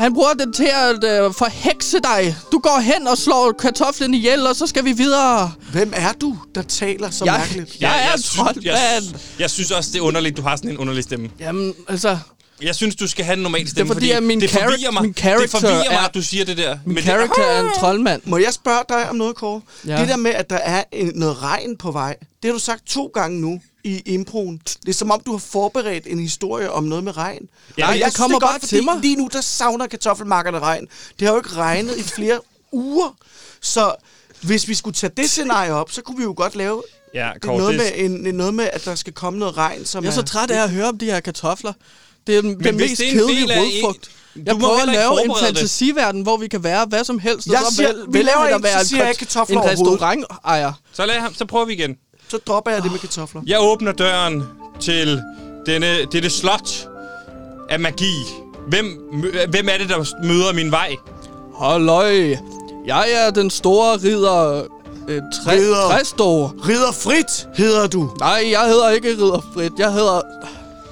Speaker 2: Han bruger den til at øh, forhekse dig. Du går hen og slår kartoflen ihjel, og så skal vi videre.
Speaker 3: Hvem er du, der taler så
Speaker 2: Jeg-
Speaker 3: mærkeligt?
Speaker 2: jeg er
Speaker 1: sy-
Speaker 2: troldmand.
Speaker 1: Jeg, sy- jeg synes også, det er underligt, du har sådan en underlig stemme.
Speaker 2: Jamen, altså...
Speaker 1: Jeg synes, du skal have en normal stemme,
Speaker 2: fordi, at min
Speaker 1: det
Speaker 2: charac-
Speaker 1: forvirrer mig.
Speaker 2: min
Speaker 1: det
Speaker 2: character
Speaker 1: forvirrer mig,
Speaker 2: er-
Speaker 1: at du siger det Ah! der.
Speaker 2: Min
Speaker 1: Men
Speaker 2: character er en troldmand.
Speaker 3: Må jeg spørge dig om noget, Kåre?
Speaker 2: Ja.
Speaker 3: Ja. Det der med, at der er en, noget regn på vej, det har du sagt to gange nu i improen. Det er som om, du har forberedt en historie om noget med regn.
Speaker 1: Ja,
Speaker 3: Og
Speaker 1: det
Speaker 3: synes,
Speaker 2: kommer
Speaker 3: det er
Speaker 2: bare
Speaker 3: godt,
Speaker 2: til
Speaker 3: fordi
Speaker 2: mig.
Speaker 3: Lige nu, der savner kartoffelmarkerne regn. Det har jo ikke regnet i flere uger. Så hvis vi skulle tage det scenarie op, så kunne vi jo godt lave
Speaker 1: Ja,
Speaker 3: det er
Speaker 1: Kåre,
Speaker 3: noget,
Speaker 1: det-
Speaker 3: med en, en- noget med, at der skal komme noget regn, som
Speaker 2: Jeg er så
Speaker 3: er-
Speaker 2: træt af at høre om de her kartofler. Det er den, den
Speaker 1: hvis
Speaker 2: mest
Speaker 1: det er en
Speaker 2: kedelige
Speaker 1: del af
Speaker 2: rodfrugt.
Speaker 1: en-
Speaker 2: Jeg
Speaker 1: Du må
Speaker 2: prøver at
Speaker 1: heller ikke
Speaker 2: lave en
Speaker 1: forberede det.
Speaker 2: fantasiverden, hvor vi kan være hvad som helst. og
Speaker 3: Jeg
Speaker 2: så
Speaker 3: siger-
Speaker 2: vel-
Speaker 3: vi
Speaker 2: vælger
Speaker 3: laver
Speaker 2: vi da
Speaker 3: en,
Speaker 2: at være
Speaker 3: så siger jeg
Speaker 2: kont-
Speaker 3: ikke kartofler
Speaker 2: en
Speaker 3: overhovedet.
Speaker 2: restaurantejer.
Speaker 1: Så, lad ham, så prøver vi igen.
Speaker 3: Så dropper jeg det
Speaker 2: Ah.
Speaker 3: med kartofler.
Speaker 1: Jeg åbner døren til denne, dette slot af magi. Hvem, mø- hvem er det, der møder min vej?
Speaker 2: Halløj. Jeg er den store ridder... Øh, tre,
Speaker 3: Ridder.
Speaker 2: Træstor.
Speaker 3: Ridder Frit hedder du.
Speaker 2: Nej, jeg hedder ikke Ridder Frit. Jeg hedder...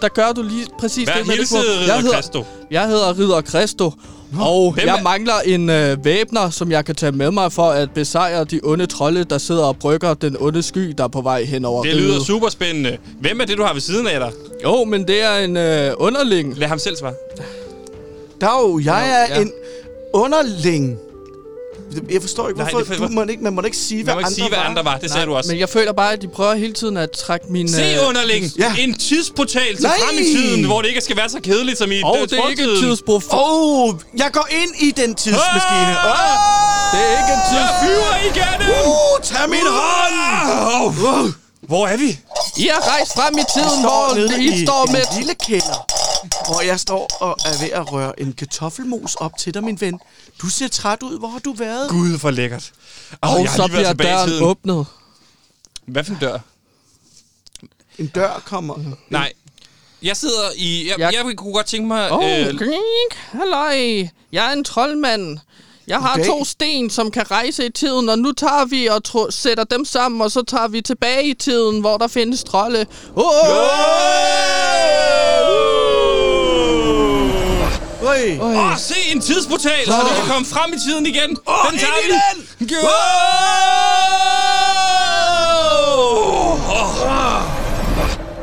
Speaker 2: Der gør du lige præcis
Speaker 1: Hvad
Speaker 2: det, man ikke
Speaker 1: hilsede
Speaker 2: må.
Speaker 1: Ridder
Speaker 2: jeg hedder,
Speaker 1: Christo?
Speaker 2: Jeg hedder Ridder Christo. Og
Speaker 1: hvem
Speaker 2: jeg
Speaker 1: er-
Speaker 2: mangler en øh, væbner, som jeg kan tage med mig for at besejre de onde trolde, der sidder og brygger den onde sky, der er på vej hen over
Speaker 1: Det
Speaker 2: riget.
Speaker 1: lyder super spændende. Hvem er det, du har ved siden af dig?
Speaker 2: Jo, men det er en øh, underling.
Speaker 1: Lad ham selv svare.
Speaker 3: Dag, jeg er
Speaker 2: ja.
Speaker 3: ja. en underling. Jeg forstår ikke,
Speaker 1: Nej,
Speaker 3: hvorfor
Speaker 1: det er
Speaker 3: Nej,
Speaker 1: for-
Speaker 3: du må ikke, man må da ikke sige, hvad,
Speaker 1: Man må ikke
Speaker 3: andre,
Speaker 1: sige, hvad
Speaker 3: var.
Speaker 1: andre var. Det sagde du også.
Speaker 2: Men jeg føler bare, at de prøver hele tiden at trække min...
Speaker 1: Se,
Speaker 2: øh,
Speaker 1: underling.
Speaker 3: Ja.
Speaker 1: En tidsportal til
Speaker 3: Nej!
Speaker 1: frem i tiden, hvor det ikke skal være så kedeligt som i
Speaker 2: Og
Speaker 1: øh,
Speaker 2: det er ikke en
Speaker 1: fortiden.
Speaker 2: tidsprof...
Speaker 3: Åh, oh, jeg går ind i den tidsmaskine.
Speaker 1: Ah!
Speaker 3: Åh,
Speaker 2: Det er ikke en
Speaker 1: Jeg
Speaker 2: tids...
Speaker 1: flyver igennem!
Speaker 3: oh, tag min hånd! Oh,
Speaker 1: Hvor er vi?
Speaker 2: I har rejst frem i tiden, hvor I står med...
Speaker 3: en lille kælder, hvor jeg står og er ved at røre en kartoffelmos op til dig, min ven. Du ser træt ud. Hvor har du været?
Speaker 1: Gud, for lækkert. Oh,
Speaker 2: Og så bliver døren åbnet.
Speaker 1: Hvad for en dør?
Speaker 3: En dør kommer.
Speaker 1: Nej. Jeg sidder i... Jeg,
Speaker 2: Jeg-
Speaker 1: jeg, jeg kunne godt tænke mig...
Speaker 2: Åh,
Speaker 1: øh,
Speaker 2: oh, grink, halløj. Jeg er en troldmand. Jeg har
Speaker 3: Goddag.
Speaker 2: to sten, som kan rejse i tiden, og nu tager vi og tro- sætter dem sammen, og så tager vi tilbage i tiden, hvor der findes trolde. Åh,
Speaker 3: Øj.
Speaker 1: Åh, oh, se en tidsportal, så vi kan komme frem i tiden igen.
Speaker 3: Åh,
Speaker 1: den tager
Speaker 3: ind i
Speaker 1: vi.
Speaker 3: den!
Speaker 1: Åh!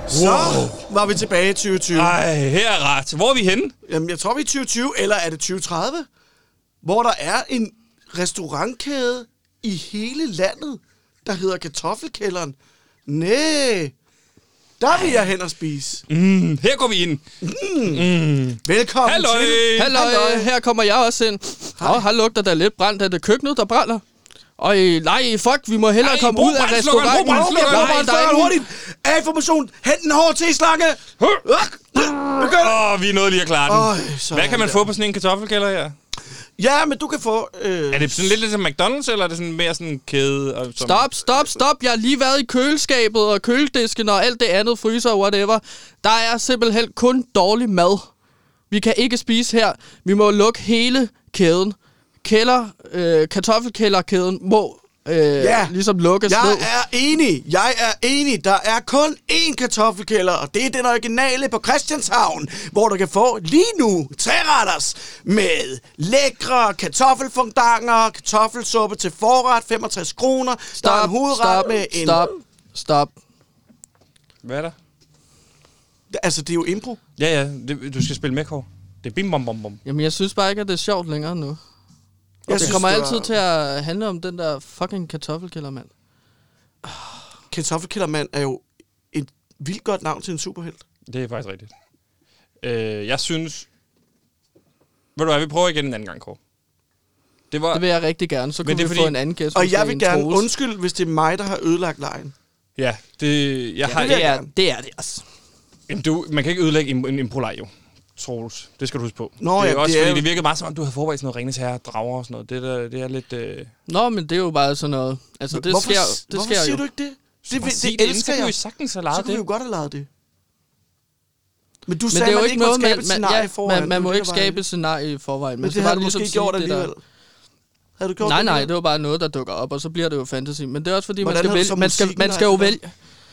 Speaker 3: Så var vi tilbage i 2020.
Speaker 1: Ej, her er ret. Hvor er vi henne?
Speaker 3: Jamen, jeg tror, vi er 2020, eller er det 2030? Hvor der er en restaurantkæde i hele landet, der hedder Kartoffelkælderen. Næh, der vil jeg hen og spise. Mm.
Speaker 1: Mm, Her går vi ind.
Speaker 3: Velkommen
Speaker 1: Hallo.
Speaker 3: til.
Speaker 2: halløj, her kommer jeg også ind. Åh, her lugter der lidt brændt. Er det køkkenet, der brænder? Og nej, fuck, vi må hellere
Speaker 1: Ej,
Speaker 2: komme
Speaker 1: brug
Speaker 2: ud af
Speaker 1: brændslukkeren, brug
Speaker 2: restauranten.
Speaker 1: brændslukkeren,
Speaker 2: Nej,
Speaker 1: brug
Speaker 2: der er
Speaker 3: Hallo,
Speaker 2: ingen-
Speaker 3: hurtigt. Af information. Hent en hård teslange. Begynd.
Speaker 1: Åh, oh, vi er nået lige at klare den.
Speaker 3: Øj, sådan
Speaker 1: Hvad kan man
Speaker 3: der.
Speaker 1: få på sådan en kartoffelkælder her?
Speaker 3: Ja, men du kan få... Øh,
Speaker 1: Er det sådan lidt ligesom McDonald's, eller er det sådan mere sådan en kæde? Og som...
Speaker 2: Stop, stop, stop. Jeg har lige været i køleskabet og køledisken og alt det andet, fryser og whatever. Der er simpelthen kun dårlig mad. Vi kan ikke spise her. Vi må lukke hele kæden. Kælder, øh, kartoffelkælderkæden må øh,
Speaker 3: Ja.
Speaker 2: ligesom lukkes
Speaker 3: Jeg
Speaker 2: ned.
Speaker 3: er enig. Jeg er enig. Der er kun én kartoffelkælder, og det er den originale på Christianshavn, hvor du kan få lige nu træretters med lækre kartoffelfondanger, kartoffelsuppe til forret, 65 kroner. der er en hovedret
Speaker 2: stop,
Speaker 3: med en...
Speaker 2: stop, stop.
Speaker 1: Hvad er der?
Speaker 3: Altså, det er jo impro.
Speaker 1: Ja, ja, det, du skal spille med, Kåre. Det er bim bom bom bom.
Speaker 2: Jamen, jeg synes bare ikke, at det er sjovt længere nu. Jeg det synes, kommer altid til at handle om den der fucking kartoffelkælder, mand.
Speaker 3: Kartoffelkældermand er jo et vildt godt navn til en superhelt.
Speaker 1: Det er faktisk rigtigt. Øh, jeg synes... Ved du hvad, vi prøver igen en anden gang, Kåre. Det var...
Speaker 2: Det vil jeg rigtig gerne. Så
Speaker 1: Men
Speaker 2: kunne
Speaker 1: det
Speaker 2: vi
Speaker 1: er
Speaker 2: fordi...
Speaker 1: fordi-
Speaker 2: få en anden gæst.
Speaker 3: Og
Speaker 2: måske
Speaker 3: jeg vil
Speaker 2: en
Speaker 3: gerne
Speaker 2: Troels.
Speaker 3: undskylde, hvis det er mig, der har ødelagt lejen.
Speaker 1: Ja, det... Jeg har,
Speaker 2: Ja, det, er, det er det, altså.
Speaker 1: Jamen, du, man kan ikke ødelægge en, en improlej, jo. Troels. Det skal du huske på.
Speaker 3: Nå,
Speaker 1: det er
Speaker 3: ja,
Speaker 1: også,
Speaker 3: det er
Speaker 1: fordi
Speaker 3: jo-
Speaker 1: det virkede meget som om, du havde forberedt sådan noget Ringens Herre, drager og sådan noget. Det, der, det er lidt... Øh...
Speaker 2: Nå, men det er jo bare sådan noget. Altså, det
Speaker 3: hvorfor,
Speaker 2: sker,
Speaker 3: s-
Speaker 2: det
Speaker 3: hvorfor
Speaker 2: sker
Speaker 3: siger
Speaker 2: jo.
Speaker 3: du ikke det? Det,
Speaker 1: Bare
Speaker 3: det,
Speaker 1: sig
Speaker 3: det,
Speaker 1: det inden,
Speaker 3: elsker
Speaker 1: Så kan vi jo
Speaker 3: jeg.
Speaker 1: sagtens have
Speaker 3: Så
Speaker 1: lejet
Speaker 3: kunne vi jo
Speaker 1: det.
Speaker 3: godt have lavet det. Men du
Speaker 2: Men
Speaker 3: sagde,
Speaker 2: det er jo
Speaker 3: man
Speaker 2: ikke noget,
Speaker 3: måtte skabe
Speaker 2: man,
Speaker 3: et
Speaker 2: man,
Speaker 3: scenarie
Speaker 2: ja,
Speaker 3: foran.
Speaker 2: man, man må
Speaker 3: Det
Speaker 2: ikke
Speaker 3: var
Speaker 2: skabe et scenarie i forvejen. Man
Speaker 3: Men
Speaker 2: skal
Speaker 3: det har
Speaker 2: bare
Speaker 3: du
Speaker 2: ligesom
Speaker 3: måske
Speaker 2: sige
Speaker 3: gjort
Speaker 2: det der.
Speaker 3: alligevel. Havde du gjort
Speaker 2: Nej,
Speaker 3: det
Speaker 2: nej,
Speaker 3: alligevel?
Speaker 2: det var bare noget, der dukker op, og så bliver det jo fantasy. Men det er også fordi, man
Speaker 3: Hvordan
Speaker 2: skal,
Speaker 3: havde du så
Speaker 2: vælge, man skal,
Speaker 3: musikken,
Speaker 2: man
Speaker 3: der
Speaker 2: skal jo
Speaker 3: ikke var?
Speaker 2: vælge.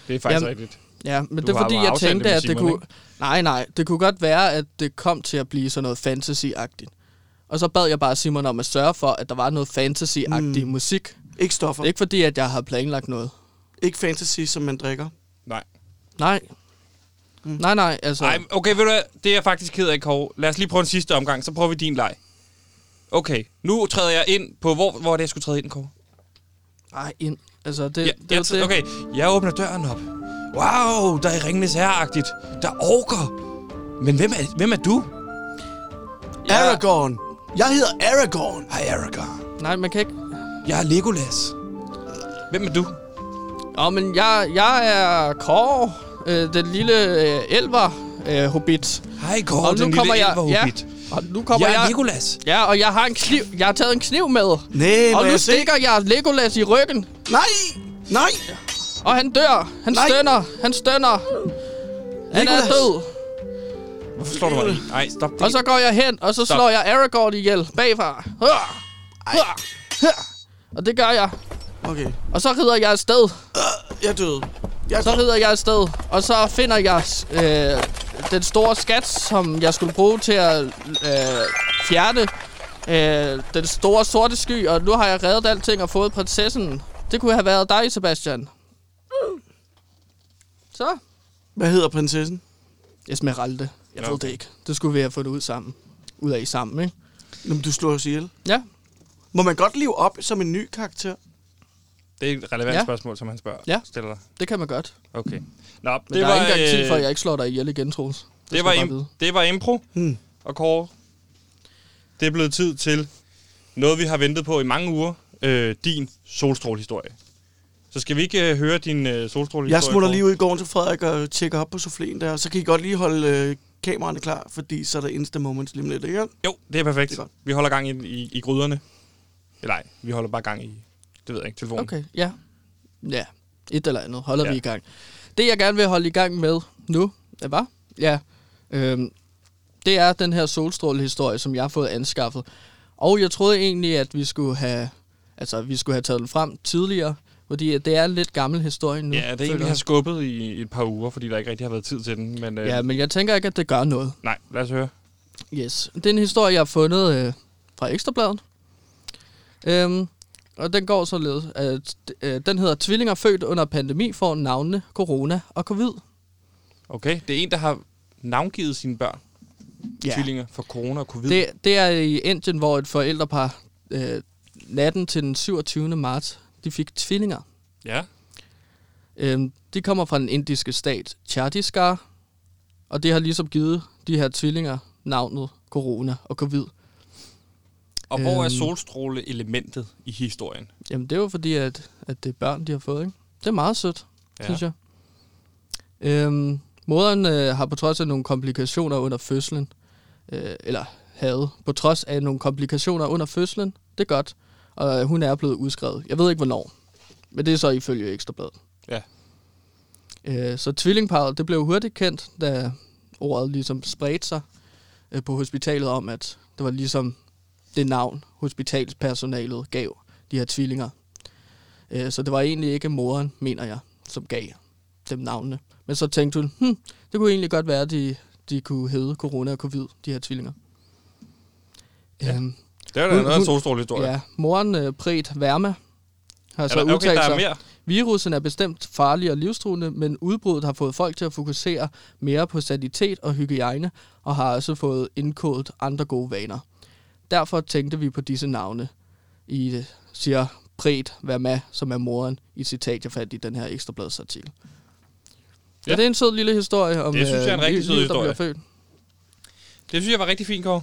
Speaker 1: Det er faktisk
Speaker 2: Jamen-
Speaker 1: rigtigt.
Speaker 2: Ja, men
Speaker 1: Du
Speaker 2: det er
Speaker 1: har
Speaker 2: fordi,
Speaker 1: jo
Speaker 2: jeg
Speaker 1: aftalt det
Speaker 2: tænkte,
Speaker 1: med
Speaker 2: at det
Speaker 1: Simon,
Speaker 2: kunne... Nej, nej, det kunne godt være, at det kom til at blive sådan noget fantasy-agtigt. Og så bad jeg bare Simon om at sørge for, at der var noget fantasy-agtig mm. musik. Det
Speaker 3: Ikke stoffer.
Speaker 2: er ikke fordi, at jeg har planlagt noget.
Speaker 3: Ikke fantasy, som man drikker.
Speaker 1: Nej.
Speaker 2: Nej. Mm. Nej, nej, altså...
Speaker 1: Nej, okay, ved du hvad? Det er jeg faktisk ked af, Kåre. Lad os lige prøve en sidste omgang, så prøver vi din leg. Okay, nu træder jeg ind på... Hvor, hvor er det, jeg skulle træde ind, Kåre?
Speaker 2: Ej, ind. Altså, det,
Speaker 1: Ja,
Speaker 2: det,
Speaker 1: jeg,
Speaker 2: var det.
Speaker 1: træ- okay, jeg åbner døren op. Wow, der er Ringenes Herre-agtigt. Der er orker. Men hvem er, hvem er du?
Speaker 3: Ja. Aragorn. Jeg hedder Aragorn.
Speaker 1: Hej, Aragorn.
Speaker 2: Nej, man kan ikke...
Speaker 1: Jeg er Legolas. Hvem er du?
Speaker 2: Nå, men jeg, jeg er Kåre, øh, den lille øh, elver øh, hobbit.
Speaker 1: Hej, Kåre, den lille
Speaker 2: ja,
Speaker 1: elverhobbit.
Speaker 2: og nu kommer
Speaker 1: jeg er
Speaker 2: jeg,
Speaker 1: Legolas.
Speaker 2: ja, og jeg har en kniv. Jeg har taget en kniv med.
Speaker 3: Nej, må
Speaker 2: og nu
Speaker 3: jeg se?
Speaker 2: stikker jeg Legolas i ryggen,
Speaker 3: Nej! Nej!
Speaker 2: og han dør. Han
Speaker 3: Nej.
Speaker 2: stønner. Han stønner. Han er
Speaker 3: Legolas.
Speaker 2: død.
Speaker 1: Hvorfor slår du mig? i? Nej, stop det.
Speaker 2: Øh. Og så går jeg hen, og så
Speaker 1: Stop.
Speaker 2: slår jeg Aragorn ihjel bagfra. Hør! Hør! Hør! Og det gør jeg.
Speaker 3: Okay,
Speaker 2: Og så rider jeg afsted.
Speaker 3: jeg døde. Jeg
Speaker 2: Så rider jeg afsted, og så finder jeg øh, den store skat, som jeg skulle bruge til at øh, fjerne øh, den store sorte sky, og nu har jeg reddet alting og fået prinsessen. Det kunne have været dig, Sebastian. Så.
Speaker 3: Hvad hedder prinsessen?
Speaker 2: Esmeralda. Jeg ved det ikke. Det skulle vi have fundet ud sammen. Ud af i sammen, ikke?
Speaker 3: Jamen, du slår os ihjel.
Speaker 2: Ja.
Speaker 3: Må man godt leve op som en ny karakter?
Speaker 1: Det er et relevant
Speaker 2: Ja.
Speaker 1: ja. spørgsmål, som han spørger.
Speaker 2: Ja.
Speaker 1: Stiller dig.
Speaker 2: Det kan man godt.
Speaker 1: Okay. Nå, det
Speaker 2: Men det der var, er
Speaker 1: var,
Speaker 2: ikke engang tid
Speaker 1: øh,
Speaker 2: for, at jeg ikke slår dig ihjel igen, Troels. Det,
Speaker 1: Det
Speaker 2: skal
Speaker 1: var,
Speaker 2: du bare
Speaker 1: im-
Speaker 2: vide.
Speaker 1: det var impro.
Speaker 3: Hmm.
Speaker 1: Og Kåre, det er blevet tid til noget, vi har ventet på i mange uger. Øh, din solstrålehistorie. Så skal vi ikke øh, høre din øh, solstrålehistorie?
Speaker 3: Jeg smutter
Speaker 1: Kåre?
Speaker 3: lige ud i gården til Frederik og tjekker op på souffléen der, og så kan I godt lige holde øh, kameraerne klar, fordi så er der Insta Moments lige om lidt, ikke?
Speaker 1: Jo, det er perfekt.
Speaker 3: Det er godt.
Speaker 1: vi holder gang i, i, i gryderne. Eller nej, vi holder bare gang i, det ved jeg ikke, telefonen.
Speaker 2: Okay, ja. Ja, et eller andet holder ja.
Speaker 1: Ja.
Speaker 2: vi i gang. Det, jeg gerne vil holde i gang med nu, er hvad? Ja, øhm, det er den her solstrålehistorie, som jeg har fået anskaffet. Og jeg troede egentlig, at vi skulle have, altså, vi skulle have taget den frem tidligere, fordi at det er en lidt gammel historie nu.
Speaker 1: Ja, det er
Speaker 2: føler
Speaker 1: en, vi
Speaker 2: jeg.
Speaker 1: har skubbet i et par uger, fordi der ikke rigtig har været tid til den. Men, øh,
Speaker 2: Ja, men jeg tænker ikke, at det gør noget.
Speaker 1: Nej, lad os høre.
Speaker 2: Yes. Det er en historie, jeg har fundet øh, fra Ekstrabladet. Øhm, og den går således, at øh, den hedder Tvillinger født under pandemi får navnene corona og covid.
Speaker 1: Okay, det er en, der har navngivet sine børn.
Speaker 2: Ja.
Speaker 1: Ja. Tvillinger for corona og covid.
Speaker 2: Det, det er i Indien, hvor et forældrepar øh, natten til den 27. marts, de fik tvillinger.
Speaker 1: Ja.
Speaker 2: Øhm, de kommer fra den indiske stat Chhattisgarh, og det har ligesom givet de her tvillinger navnet corona og covid.
Speaker 1: Og hvor er
Speaker 2: Øhm.
Speaker 1: solstråle-elementet i historien?
Speaker 2: Jamen, det er jo fordi, at, at det er børn, de har fået, ikke? Det er meget sødt, ja. synes jeg. Øhm, moderen øh, har på trods af nogle komplikationer under fødslen, øh, eller havde på trods af nogle komplikationer under fødslen, det er godt, og øh, hun er blevet udskrevet. Jeg ved ikke, hvornår, men det er så ifølge Ekstrabladet.
Speaker 1: Ja.
Speaker 2: Øh, så tvillingparet, det blev hurtigt kendt, da ordet ligesom spredte sig øh, på hospitalet om, at det var ligesom det navn, hospitalspersonalet gav de her tvillinger. Øh, Så det var egentlig ikke moren, mener jeg, som gav dem navnene. Men så tænkte hun, hm, det kunne egentlig godt være, at de, de kunne hedde corona og covid, de her tvillinger. Ja, øhm,
Speaker 1: Det er da
Speaker 2: Hun-
Speaker 1: en anden
Speaker 2: hun-
Speaker 1: solstråle-historie.
Speaker 2: ja moren øh, Pret Verma har
Speaker 1: Er
Speaker 2: så
Speaker 1: der, okay,
Speaker 2: udtalt
Speaker 1: der er
Speaker 2: sig.
Speaker 1: mere.
Speaker 2: Virusen er bestemt farlig og livstruende, men udbruddet har fået folk til at fokusere mere på sanitet og hygiejne, og har også fået indkodet andre gode vaner. Derfor tænkte vi på disse navne, i øh, siger Pret Verma, som er moren, i et citat, jeg fandt i den her ekstrabladsartikel. Ja.
Speaker 1: Ja.
Speaker 2: Er det en sød lille historie om
Speaker 1: Det synes jeg er en rigtig
Speaker 2: liv-
Speaker 1: sød
Speaker 2: liv, der
Speaker 1: historie.
Speaker 2: bliver født?
Speaker 1: Det synes jeg var rigtig fint, Kåre.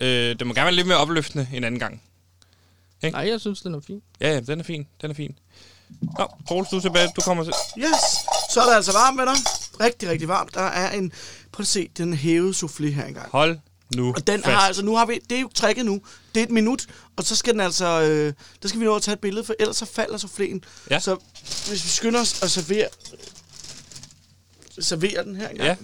Speaker 1: øh, det må gerne være lidt mere opløftende en anden gang.
Speaker 2: Nej, jeg synes, den er fin.
Speaker 1: Ja, ja, den er fin. Den er fin. Nå, Troels, du er tilbage. Du kommer til...
Speaker 3: Yes, så er det altså varmt, venner. Rigtig, rigtig varmt. Der er en, prøv at se, den hævede soufflé her engang.
Speaker 1: Hold nu
Speaker 3: Og den
Speaker 1: fast.
Speaker 3: har altså, nu har vi, det er jo trækket nu. Det er et minut, og så skal den altså, øh, der skal vi nå at tage et billede, for ellers så falder souffléen.
Speaker 1: Ja.
Speaker 3: Så hvis vi skynder os at servere, servere den her engang.
Speaker 1: Ja.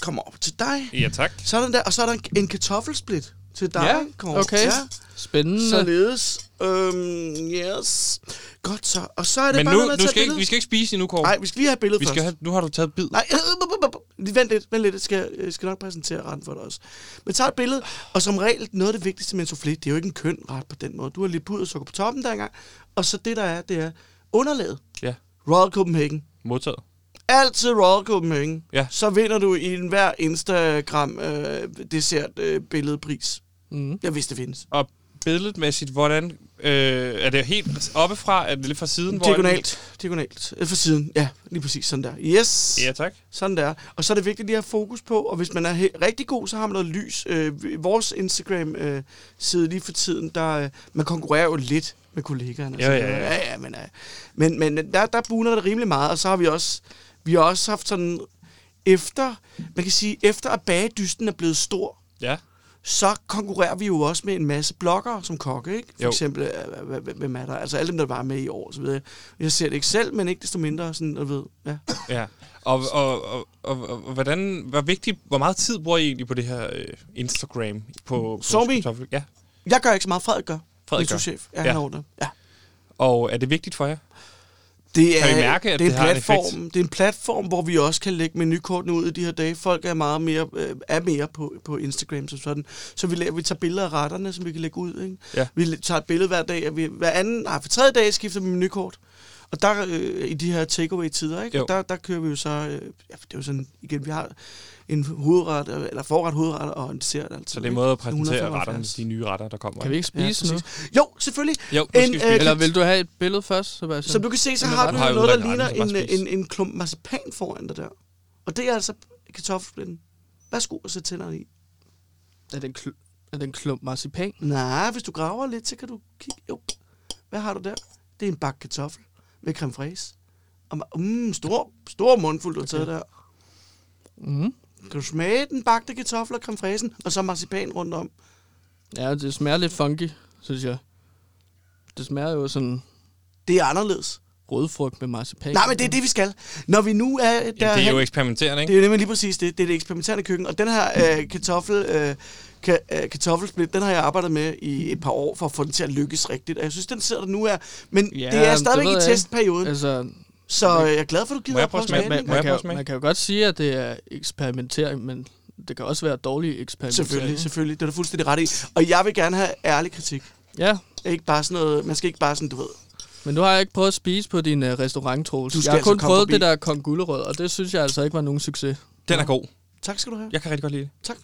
Speaker 3: Kommer op til dig.
Speaker 1: Ja, tak.
Speaker 3: Så er den der, og så er der en, en kartoffelsplit til dig,
Speaker 2: Ja,
Speaker 3: Kåre.
Speaker 2: okay. Spændende.
Speaker 3: Således. Øhm, yes. Godt så. Og så er det
Speaker 1: Men
Speaker 3: bare
Speaker 1: nu,
Speaker 3: noget med at
Speaker 1: nu
Speaker 3: tage
Speaker 1: skal ikke,
Speaker 3: billede.
Speaker 1: vi skal ikke spise endnu, Kåre.
Speaker 3: Nej, vi skal lige have et billede
Speaker 1: vi skal
Speaker 3: først.
Speaker 1: have, nu har du taget bid.
Speaker 3: Nej, øh, bup, bup, bup. Lige vent lidt, vent lidt. Jeg skal, jeg skal nok præsentere retten for dig også. Men tag et billede, og som regel, noget af det vigtigste med en soufflé, det er jo ikke en køn ret på den måde. Du har lidt puder og sukker på toppen der engang, og så det der er, det er underlaget.
Speaker 1: Ja,
Speaker 3: Royal Copenhagen.
Speaker 1: modtaget.
Speaker 3: Altid Royal Copenhagen.
Speaker 1: Ja.
Speaker 3: Så vinder du i enhver Instagram øh, dessert øh, billedpris.
Speaker 2: Mm.
Speaker 3: Jeg vidste, det findes.
Speaker 1: Og billedmæssigt, hvordan... Øh, er det helt oppefra? Er det lidt fra siden? hvor-
Speaker 3: Diagonalt. Diagonalt. Øh, For siden. Ja, lige præcis sådan der. Yes.
Speaker 1: Ja, tak.
Speaker 3: Sådan der. Og så er det vigtigt lige at have fokus på, og hvis man er he- rigtig god, så har man noget lys. Øh, vores Instagram-side lige for tiden, der, øh, man konkurrerer jo lidt med kollegaerne. og
Speaker 1: Ja,
Speaker 3: sådan
Speaker 1: ja,
Speaker 3: noget.
Speaker 1: ja.
Speaker 3: ja, ja men, øh, men, men der, der buner det rimelig meget, og så har vi også, vi har også haft sådan, efter, man kan sige, efter at bagedysten er blevet stor,
Speaker 1: Ja.
Speaker 3: så konkurrerer vi jo også med en masse bloggere som kokke, ikke? For
Speaker 1: Jo.
Speaker 3: eksempel, øh, hva- hva- hvem er der? Altså alle dem, der var med i år, og så videre. Jeg ser det ikke selv, men ikke desto mindre, sådan, du ved, ja.
Speaker 1: Ja, og, og, og, og, og hvordan, hvor, vigtigt, hvor meget tid bruger I egentlig på det her øh, Instagram? På, på
Speaker 3: Zombie?
Speaker 1: kartoffel- Ja,
Speaker 3: Jeg gør ikke så meget, Frederik gør.
Speaker 1: Frederik
Speaker 3: Min
Speaker 1: gør.
Speaker 3: souschef. Ja,
Speaker 1: Ja.
Speaker 3: han har ordnet. Ja.
Speaker 1: og er det vigtigt for jer?
Speaker 3: Det er,
Speaker 1: Kan I mærke, at
Speaker 3: det er
Speaker 1: det
Speaker 3: en
Speaker 1: har en
Speaker 3: platform, det er en platform, hvor vi også kan lægge menukortene ud i de her dage. Folk er meget mere, øh, er mere på, på Instagram som sådan. Så vi, laver, vi tager billeder af retterne, som vi kan lægge ud. Ikke?
Speaker 1: Ja.
Speaker 3: Vi la- tager et billede hver dag, og vi, hver anden, nej, for tredje dag skifter vi menukort. Og der øh, i de her takeaway-tider, ikke?
Speaker 1: Jo.
Speaker 3: Og Der, der kører vi jo så, øh, ja, det er jo sådan, igen, vi har en hovedret, øh, eller forret, hovedret og en dessert. Altså,
Speaker 1: Så det er en måde at præsentere
Speaker 3: 175.
Speaker 1: retterne, de nye retter, der kommer.
Speaker 2: Kan vi ikke spise
Speaker 3: Ja,
Speaker 2: ja, nu?
Speaker 3: præcis. Jo, selvfølgelig.
Speaker 1: Jo, nu skal
Speaker 3: En,
Speaker 1: vi
Speaker 3: øh,
Speaker 1: spise.
Speaker 2: Eller vil du have et billede først, Sebastian?
Speaker 3: Som du kan se, så
Speaker 2: Men
Speaker 3: har
Speaker 2: det
Speaker 3: du
Speaker 1: har jo
Speaker 3: jo noget, der
Speaker 1: udvalgt retten,
Speaker 3: ligner en, øh,
Speaker 1: så bare
Speaker 3: en,
Speaker 1: spis.
Speaker 3: en klump marcipan foran dig der. Og det er altså kartoffelblenden. Værsgo at sætte tænderne i.
Speaker 2: Er den, kl- er den klump marcipan?
Speaker 3: Nej, hvis du graver lidt, så kan du kigge. Jo. Hvad har du der? Det er en bakke kartoffel med creme fraise. Og ma- mm, stor, stor mundfuld, du har taget der.
Speaker 2: Mm.
Speaker 3: Kan du smage den bagte kartoffel og creme fraisen, og så marcipan rundt om?
Speaker 2: Ja, det smager lidt funky, synes jeg. Det smager jo sådan
Speaker 3: Det er anderledes.
Speaker 2: rødfrugt med marcipan.
Speaker 3: Nej, men det er det, vi skal. Når vi nu er... Der,
Speaker 1: Jamen, det er jo eksperimenterende,
Speaker 3: Det
Speaker 1: ikke?
Speaker 3: er jo nemlig lige præcis det. Det er det eksperimenterende køkken. Og den her øh, kartoffel, øh, ka, øh, kartoffelsplit, den har jeg arbejdet med i et par år, for at få den til at lykkes rigtigt. Og jeg synes, den sidder der nu er. Men ja,
Speaker 2: Ja,
Speaker 3: det er
Speaker 2: det
Speaker 3: stadigvæk
Speaker 2: ved
Speaker 3: i
Speaker 2: jeg
Speaker 3: testperioden.
Speaker 2: Altså,
Speaker 3: så øh, jeg er glad for, at du
Speaker 1: Øh, Må
Speaker 3: gider
Speaker 1: jeg
Speaker 3: at prøve
Speaker 1: prøve
Speaker 3: at
Speaker 1: smag-
Speaker 3: smage
Speaker 1: Må
Speaker 2: man,
Speaker 1: jeg prøve
Speaker 2: man,
Speaker 3: den.
Speaker 2: kan,
Speaker 1: at smage?
Speaker 2: man kan jo godt sige, at det er eksperimentering, men det kan også være dårlig eksperimentering.
Speaker 3: Selvfølgelig, selvfølgelig. Det er du fuldstændig ret i. Og jeg vil gerne have ærlig kritik.
Speaker 2: Ja,
Speaker 3: Ikke bare sådan noget, man skal ikke bare sådan, du ved.
Speaker 2: men nu har jeg ikke prøvet at spise på din uh, restaurant, Troels.
Speaker 3: Du skal
Speaker 2: Jeg har
Speaker 3: altså
Speaker 2: kun
Speaker 3: komme
Speaker 2: prøvet
Speaker 3: forbi.
Speaker 2: det der kong gulerød, og det synes jeg altså ikke var nogen succes.
Speaker 1: Den er god.
Speaker 3: Tak skal du have. Ja.
Speaker 1: Jeg kan rigtig godt lide det.
Speaker 3: Tak.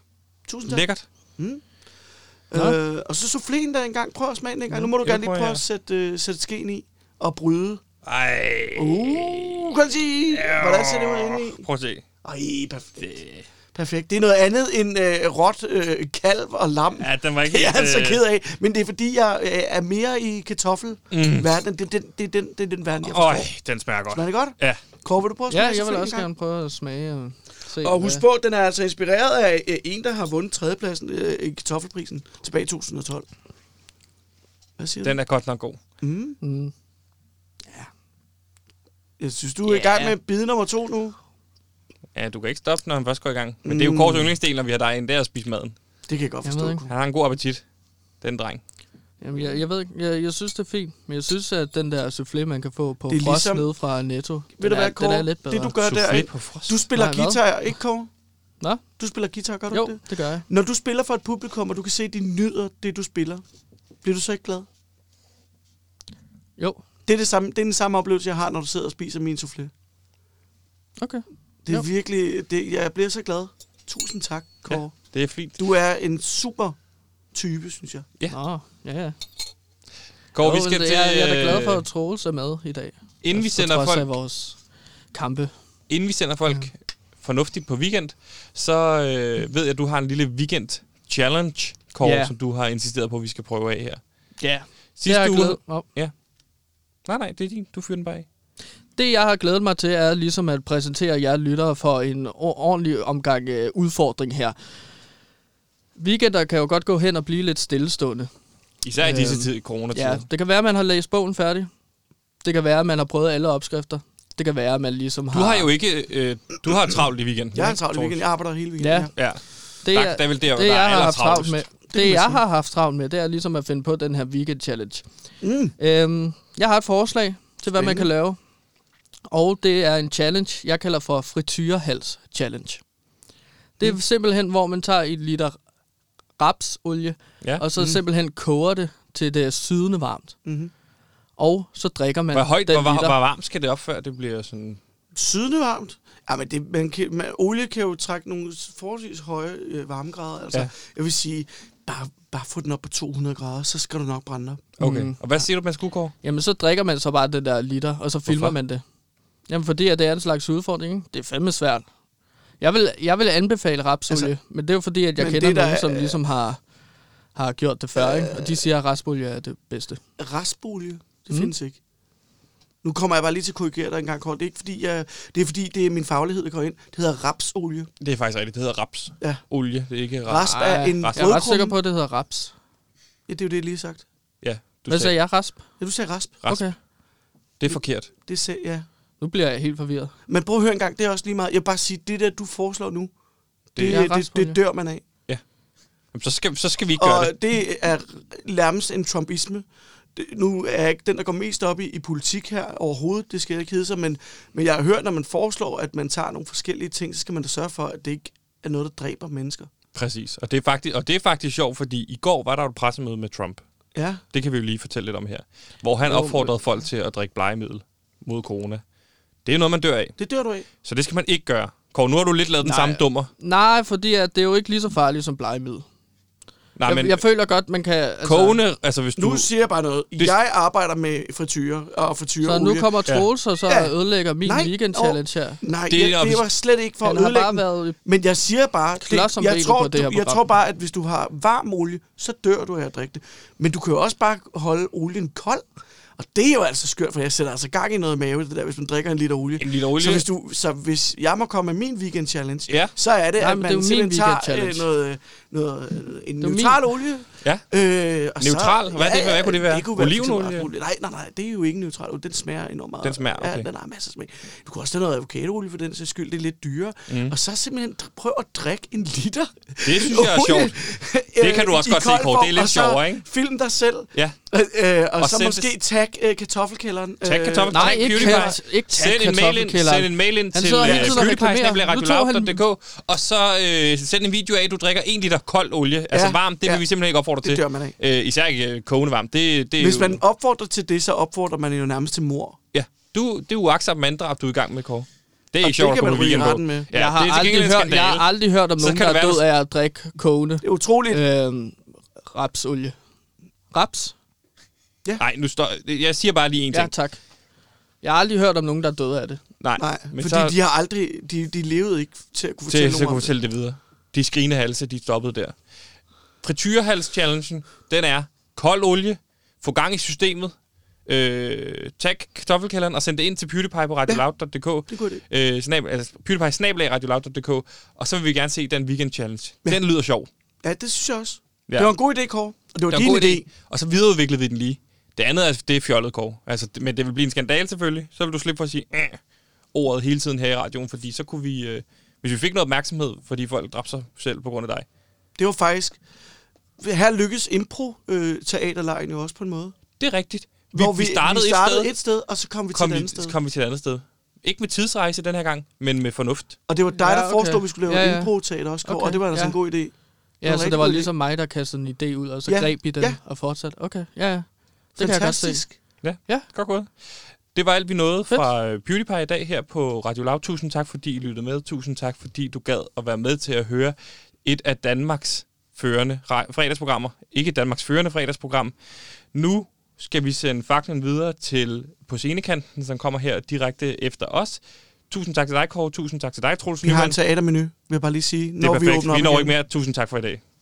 Speaker 3: Tusind tak.
Speaker 1: Lækkert.
Speaker 3: Øh, og så souffléen der engang. Prøv at smage den engang. Nu må du
Speaker 1: Ja,
Speaker 3: gerne lige
Speaker 1: prøver
Speaker 3: prøve
Speaker 1: jeg.
Speaker 3: at sætte, øh, sætte skeen i og bryde.
Speaker 1: Ej.
Speaker 3: Uh, kan du sige, hvordan ser det ud indeni?
Speaker 1: Prøv at se.
Speaker 3: Ej, perfekt. Perfekt. Det er noget andet end øh, råt øh, kalv og lam. Ja,
Speaker 1: Ja, den var ikke
Speaker 3: det er jeg altså
Speaker 1: øh,
Speaker 3: ked af. Men det er fordi, jeg øh, er mere i kartoffelverdenen. Det, er den, det, er den, det er den verden, jeg forstår.
Speaker 1: Øj,
Speaker 3: Øh.
Speaker 1: den smager godt.
Speaker 3: Smager det godt?
Speaker 1: Ja,
Speaker 3: Kåre, vil du prøve at smage
Speaker 2: Ja, jeg vil
Speaker 3: selvfølgelig
Speaker 2: også
Speaker 3: en gang?
Speaker 2: gerne prøve at smage og se.
Speaker 3: Og
Speaker 2: hvad-
Speaker 3: husk på, den er altså inspireret af øh, en, der har vundet tredjepladsen øh, i kartoffelprisen tilbage i 2012. Hvad siger
Speaker 1: den
Speaker 3: du?
Speaker 1: er godt nok god.
Speaker 3: Mm.
Speaker 2: Mm.
Speaker 3: Jeg synes, du er i gang med bid nummer to nu.
Speaker 1: Ja, du kan ikke stoppe, når han først går i gang. Men det
Speaker 3: Mm.
Speaker 1: er jo Kors yndlingsdel, når vi har dig ind der og spise maden.
Speaker 3: Det kan jeg godt
Speaker 2: Jeg
Speaker 3: forstå.
Speaker 2: ved
Speaker 3: Jeg
Speaker 2: ikke.
Speaker 1: Han har en god appetit, den dreng.
Speaker 2: Jamen, jeg, jeg ved ikke, jeg, jeg synes, det er fint, men jeg synes, at den der soufflé, man kan få på
Speaker 3: Det er
Speaker 2: frost
Speaker 3: ligesom-
Speaker 2: ligesom... nede fra Netto,
Speaker 3: Ved du
Speaker 2: den, er,
Speaker 3: hvad,
Speaker 2: den er
Speaker 3: Kåre?
Speaker 2: lidt bedre.
Speaker 3: Det, du gør der,
Speaker 1: Soufflé
Speaker 3: ikke?
Speaker 1: på frost.
Speaker 3: Du spiller
Speaker 2: Nej, hvad?
Speaker 3: guitar, ikke, Kåre?
Speaker 2: Nå?
Speaker 3: Du spiller guitar, gør du
Speaker 2: Jo,
Speaker 3: ikke det?
Speaker 2: det gør jeg.
Speaker 3: Når du spiller for et publikum, og du kan se, at de nyder det, du spiller, bliver du så ikke glad?
Speaker 2: Jo,
Speaker 3: Det er, det, samme, det er den samme oplevelse, jeg har, når du sidder og spiser min soufflé.
Speaker 2: Okay.
Speaker 3: Det er
Speaker 2: Jo.
Speaker 3: virkelig... Det, jeg bliver så glad. Tusind tak, Kåre. Ja.
Speaker 1: Det er fint.
Speaker 3: Du er en super type, synes jeg.
Speaker 1: Ja.
Speaker 2: Nå, ja, ja.
Speaker 1: Kåre, vi
Speaker 2: Jo,
Speaker 1: skal
Speaker 2: det-
Speaker 1: til...
Speaker 2: jeg, jeg er da glad for,
Speaker 1: øh,
Speaker 2: at Troels er med i dag.
Speaker 1: Inden vi
Speaker 2: Altså, på
Speaker 1: sender
Speaker 2: trods
Speaker 1: folk-
Speaker 2: af vores kampe.
Speaker 1: inden vi sender folk ja. fornuftigt på weekend, så øh, ved jeg, at du har en lille weekend-challenge, Kåre,
Speaker 2: Ja.
Speaker 1: yeah. som du har insisteret på, at vi skal prøve af her.
Speaker 2: Ja, det
Speaker 1: Sidste
Speaker 2: har jeg
Speaker 1: uge-
Speaker 2: glædet mig
Speaker 1: Nej, nej, det er din. Du fyrer den bare af.
Speaker 2: Det, jeg har glædet mig til, er ligesom at præsentere jer lyttere for en o- ordentlig omgang øh, udfordring her. Weekender kan jo godt gå hen og blive lidt stillestående.
Speaker 1: Især i disse
Speaker 2: Øhm,
Speaker 1: tid, coronatider.
Speaker 2: Ja, det kan være, at man har læst bogen færdig. Det kan være, at man har prøvet alle opskrifter. Det kan være, at man ligesom har...
Speaker 1: Du har jo ikke... Øh, du har travlt i weekenden.
Speaker 3: Jeg er en
Speaker 1: ikke,
Speaker 3: travl
Speaker 1: Troels?
Speaker 3: weekend. Jeg arbejder hele weekenden.
Speaker 2: Ja.
Speaker 3: Ja.
Speaker 1: Ja,
Speaker 2: det,
Speaker 1: der- der er vel der,
Speaker 2: det
Speaker 1: der er
Speaker 2: jeg har haft travlt
Speaker 1: allertravlest.
Speaker 2: med.
Speaker 3: kan
Speaker 2: Det,
Speaker 3: man
Speaker 2: jeg
Speaker 3: sige.
Speaker 2: har haft travlt med, det er ligesom at finde på den her weekend challenge.
Speaker 3: Mm.
Speaker 2: Øhm, jeg har et forslag til, hvad man
Speaker 3: Spændende.
Speaker 2: kan lave. Og det er en challenge, jeg kalder for frityrehals challenge. Det er mm. simpelthen, hvor man tager et liter rapsolie,
Speaker 1: ja.
Speaker 2: og så mm. simpelthen koger det til det er sydende varmt.
Speaker 3: Mhm.
Speaker 2: Og så drikker man
Speaker 1: Mm-hmm. Hvor højt,
Speaker 2: den
Speaker 1: hvor, var,
Speaker 2: liter.
Speaker 1: hvor varmt skal det op, før det bliver sådan...
Speaker 3: Sydende varmt. Ja, men det, man kan, man, olie kan jo trække nogle forholdsvis høje øh, varmegrader. Altså,
Speaker 1: Ja.
Speaker 3: ja. Jeg vil sige, bare, bare få den op på 200 grader, så skal du nok brænde op.
Speaker 1: Okay.
Speaker 2: Mm.
Speaker 1: Mm. Og hvad siger du, man skulle, Kåre?
Speaker 2: Jamen, så drikker man så bare det der liter, og så filmer
Speaker 1: Hvorfor?
Speaker 2: man det. Jamen, fordi at det er en slags udfordring. ikke? Det er fandme svært. Jeg vil, jeg vil anbefale rapsolie, altså, men det er jo fordi, at jeg
Speaker 3: men
Speaker 2: kender
Speaker 3: det, der
Speaker 2: nogen,
Speaker 3: er-
Speaker 2: som ligesom har, har gjort det før, ikke?
Speaker 1: Øh,
Speaker 2: og de siger, at rapsolie er det bedste.
Speaker 3: Restbolie, det
Speaker 2: Mm.
Speaker 3: mm. findes ikke. Nu kommer jeg bare lige til at korrigere dig en gang, Kåre. Det er ikke fordi, jeg, det er fordi, det er min faglighed, der går ind. Det hedder rapsolie.
Speaker 1: Det er faktisk rigtigt. Det hedder raps.
Speaker 3: Ja.
Speaker 1: Olie, det er ikke raps.
Speaker 3: Rasp er
Speaker 2: Ej,
Speaker 3: en
Speaker 2: jeg
Speaker 1: rasp.
Speaker 2: er ret sikker
Speaker 3: rødkrumme.
Speaker 2: på, at det hedder raps.
Speaker 3: Ja, det er jo det, jeg lige har sagt.
Speaker 1: Ja, du
Speaker 2: Hvad sagde
Speaker 1: sagde,
Speaker 2: jeg? Rasp?
Speaker 3: Ja, du sagde rasp.
Speaker 1: Rasp.
Speaker 2: Okay.
Speaker 1: det er forkert.
Speaker 3: Det sagde, ja.
Speaker 2: Nu bliver jeg helt forvirret.
Speaker 3: Men prøv at høre en gang, det er også lige meget. Jeg vil bare sige, det der, du foreslår nu, det,
Speaker 2: er
Speaker 3: det, det,
Speaker 2: rapsolie.
Speaker 3: det dør man af.
Speaker 1: Jamen, så, skal, så skal vi ikke gøre
Speaker 3: Og
Speaker 1: det.
Speaker 3: det. er nærmest en trumpisme. Det- Nu er jeg ikke den, der går mest op i, i politik her overhovedet, det skal jeg ikke hedde sig, men, men jeg har hørt, når man foreslår, at man tager nogle forskellige ting, så skal man da sørge for, at det ikke er noget, der dræber mennesker.
Speaker 1: Præcis. Og det, er faktisk, og det er faktisk sjovt, fordi i går var der jo et pressemøde med Trump.
Speaker 3: Ja,
Speaker 1: Det kan vi jo lige fortælle lidt om her. Hvor han
Speaker 2: Jo,
Speaker 1: opfordrede folk til at drikke blegemiddel mod corona. Det er noget, man dør af.
Speaker 3: det dør du af.
Speaker 1: Så det skal man ikke gøre. Kåre, nu har du lidt lavet den
Speaker 2: Nej.
Speaker 1: samme dummer.
Speaker 2: Nej, fordi at det er jo ikke lige så farligt som blegemiddel.
Speaker 1: Nej,
Speaker 2: Jeg,
Speaker 1: Ah, men
Speaker 2: jeg føler godt, man kan... Altså,
Speaker 1: kogende, altså hvis
Speaker 3: Nu
Speaker 1: du...
Speaker 3: siger jeg bare noget.
Speaker 1: Det-
Speaker 3: Jeg arbejder med frityrer og frityreolie.
Speaker 2: så nu kommer Troels, og så
Speaker 3: Ja.
Speaker 2: ødelægger min
Speaker 3: Nej,
Speaker 2: weekend challenge her.
Speaker 3: Nej,
Speaker 1: Det
Speaker 3: det,
Speaker 1: er-
Speaker 3: jeg, det var slet ikke for
Speaker 2: Han
Speaker 3: at
Speaker 2: har
Speaker 3: ødelægge
Speaker 2: bare
Speaker 3: den.
Speaker 2: været...
Speaker 3: Men jeg siger bare,
Speaker 2: Klods om
Speaker 3: det, jeg,
Speaker 2: benet
Speaker 3: tror,
Speaker 2: på det her
Speaker 3: du, jeg
Speaker 2: program.
Speaker 3: tror bare, at hvis du har varm olie, så dør du af at drikke det. Men du kan jo også bare holde olien kold. Og det er jo altså skørt, for jeg sætter altså gang i noget mave, det der, hvis man drikker en liter olie.
Speaker 1: En liter olie.
Speaker 3: Så hvis, du, så hvis jeg må komme med min weekend challenge,
Speaker 1: Ja.
Speaker 3: så er det,
Speaker 2: Nej,
Speaker 3: at
Speaker 2: men
Speaker 3: man
Speaker 2: det er jo min
Speaker 3: simpelthen tager øh,
Speaker 2: weekend-challenge.
Speaker 3: noget, noget, øh, en
Speaker 2: er jo
Speaker 3: neutral olie.
Speaker 1: Ja.
Speaker 3: Øh, og
Speaker 1: Neutral?
Speaker 3: Så,
Speaker 1: Hvad er det? Hvad kunne det være?
Speaker 3: Det kunne være for eksempel
Speaker 1: Olivenolie?
Speaker 3: rapsolie. Nej, nej, nej, det er jo ikke neutral olie. Den smager enormt meget.
Speaker 1: Den smager,
Speaker 3: Ja,
Speaker 1: okay.
Speaker 3: den har masser af smag. Du kan også tage noget avocadoolie for den sags skyld. Det er lidt dyrere. Mm. Og så simpelthen dr- prøv at drikke en liter.
Speaker 1: Det synes jeg er
Speaker 3: olie,
Speaker 1: Det kan du
Speaker 3: øh,
Speaker 1: også
Speaker 3: i
Speaker 1: godt se,
Speaker 3: kold
Speaker 1: Kåre. Det er
Speaker 3: form,
Speaker 1: lidt
Speaker 3: og så
Speaker 1: sjovere, ikke?
Speaker 3: Film dig selv.
Speaker 1: Ja.
Speaker 3: Øh, øh, og,
Speaker 1: Og
Speaker 3: og så
Speaker 1: send
Speaker 3: måske tag øh, kartoffelkælderen.
Speaker 1: Tag
Speaker 3: øh,
Speaker 1: kartoffel,
Speaker 2: nej,
Speaker 1: tag
Speaker 2: ikke
Speaker 1: PewDiePie.
Speaker 2: kast- ikke tag
Speaker 1: send en mail ind,
Speaker 2: kartoffelkælderen.
Speaker 1: send en mail ind
Speaker 2: Han
Speaker 1: til øh,
Speaker 2: sidder hele tiden og reklamerer. Nu tog han-
Speaker 1: PewDiePie.dk, og så øh, send en video af, at du drikker en liter kold olie. Altså
Speaker 3: Ja,
Speaker 1: varm, det vil
Speaker 3: ja.
Speaker 1: vi simpelthen ikke opfordre
Speaker 3: Det
Speaker 1: til.
Speaker 3: dør man af.
Speaker 1: Øh, især ikke øh, kogende varmt. Det, det er
Speaker 3: Hvis
Speaker 1: jo-
Speaker 3: man opfordrer til det, så opfordrer man jo nærmest til mor.
Speaker 1: Ja, du, det er uagtsomt manddrab, du er i gang med, Kåre. Det er
Speaker 3: Og
Speaker 1: ikke sjovt
Speaker 3: det
Speaker 1: at
Speaker 3: kan
Speaker 1: komme
Speaker 3: man
Speaker 1: på
Speaker 3: ryge i
Speaker 1: weekend på.
Speaker 3: retten med.
Speaker 1: Ja,
Speaker 2: jeg, har
Speaker 1: det er til
Speaker 2: aldrig
Speaker 1: gengæld en
Speaker 2: hørt, jeg
Speaker 1: skandale.
Speaker 2: har aldrig hørt om
Speaker 1: Så
Speaker 2: nogen,
Speaker 1: kan
Speaker 2: der
Speaker 1: det
Speaker 2: er
Speaker 1: være,
Speaker 2: død af at drikke kogende
Speaker 3: Det er utroligt. Øh.
Speaker 2: øhm, rapsolie. Raps?
Speaker 1: Nej, nu står... Jeg siger bare lige en
Speaker 2: Ja,
Speaker 1: ting.
Speaker 2: tak. Jeg har aldrig hørt om nogen, der er døde af det.
Speaker 1: Nej,
Speaker 3: Nej,
Speaker 1: men
Speaker 3: fordi
Speaker 1: så,
Speaker 3: de har aldrig... De, de levede ikke til at kunne fortælle
Speaker 1: til,
Speaker 3: nogen
Speaker 1: så kunne
Speaker 3: om
Speaker 1: vi fortælle det videre. De skrigende halse, de stoppede der. Frityrehals-challengen, den er kold olie, få gang i systemet, øh, tag kartoffelkælderen og send det ind til PewDiePie på radioloud.dk.
Speaker 3: det er en god idé.
Speaker 1: Øh, snab, altså, PewDiePie snablag radioloud.dk, og så vil vi gerne se den weekend challenge. Den lyder sjov.
Speaker 3: Ja, det synes jeg også.
Speaker 1: Ja.
Speaker 3: Ja. Det var en god idé, Kåre. Og det var
Speaker 1: Det var
Speaker 3: din
Speaker 1: en god
Speaker 3: idé.
Speaker 1: idé. Og så videreudviklede vi den lige. Det andet er, det er fjollet, Kåre. Altså, det- men det vil blive en skandal selvfølgelig. Så vil du slippe for at sige "Æh", ordet hele tiden her i radioen, fordi så kunne vi... Øh, hvis vi fik noget opmærksomhed, fordi folk dræbte sig selv på grund af dig.
Speaker 3: Det var faktisk... Her lykkes impro-teaterlejen jo også på en måde.
Speaker 1: Det er rigtigt. Vi, Hvor vi, vi, startede,
Speaker 3: vi startede
Speaker 1: et sted,
Speaker 3: et sted, og så kom vi
Speaker 1: kom,
Speaker 3: til et
Speaker 1: vi,
Speaker 3: andet sted.
Speaker 1: kom vi til et andet sted. Ikke med tidsrejse den her gang, men med fornuft.
Speaker 3: Og det var dig,
Speaker 2: Ja,
Speaker 3: ja, der
Speaker 2: okay.
Speaker 3: foreslog, at vi skulle lave
Speaker 2: Ja,
Speaker 3: ja,
Speaker 2: ja.
Speaker 3: ja. impro-teater også, Kåre,
Speaker 2: Okay,
Speaker 3: og det var altså
Speaker 2: ja.
Speaker 3: en god idé.
Speaker 2: Ja,
Speaker 3: var
Speaker 2: så
Speaker 3: rigtig
Speaker 2: det var
Speaker 3: god
Speaker 2: ligesom mig, der kastede en idé ud, og så ja.
Speaker 3: Ja,
Speaker 2: greb I den ja.
Speaker 3: ja.
Speaker 2: og fortsatte. Okay, ja, ja. Det kan jeg godt se.
Speaker 3: Fantastisk.
Speaker 1: Ja,
Speaker 2: Ja.
Speaker 1: godt gået. Det var alt, vi nåede
Speaker 2: Fedt.
Speaker 1: fra øh, PewDiePie i dag her på Radio Loud. Tusind tak, fordi I lyttede med. Tusind tak, fordi du gad at være med til at høre et af Danmarks førende ra- fredagsprogrammer. Ikke Danmarks førende fredagsprogram. Nu skal vi sende faklen videre til på scenekanten, som kommer her direkte efter os. Tusind tak til dig, Kåre. Tusind tak til dig, Troels
Speaker 3: Vi har
Speaker 1: Nyman.
Speaker 3: en teatermenu, vil jeg bare lige sige.
Speaker 1: Det er
Speaker 3: vi
Speaker 1: perfekt. Vi når
Speaker 3: igen.
Speaker 1: ikke mere. Tusind tak for i dag.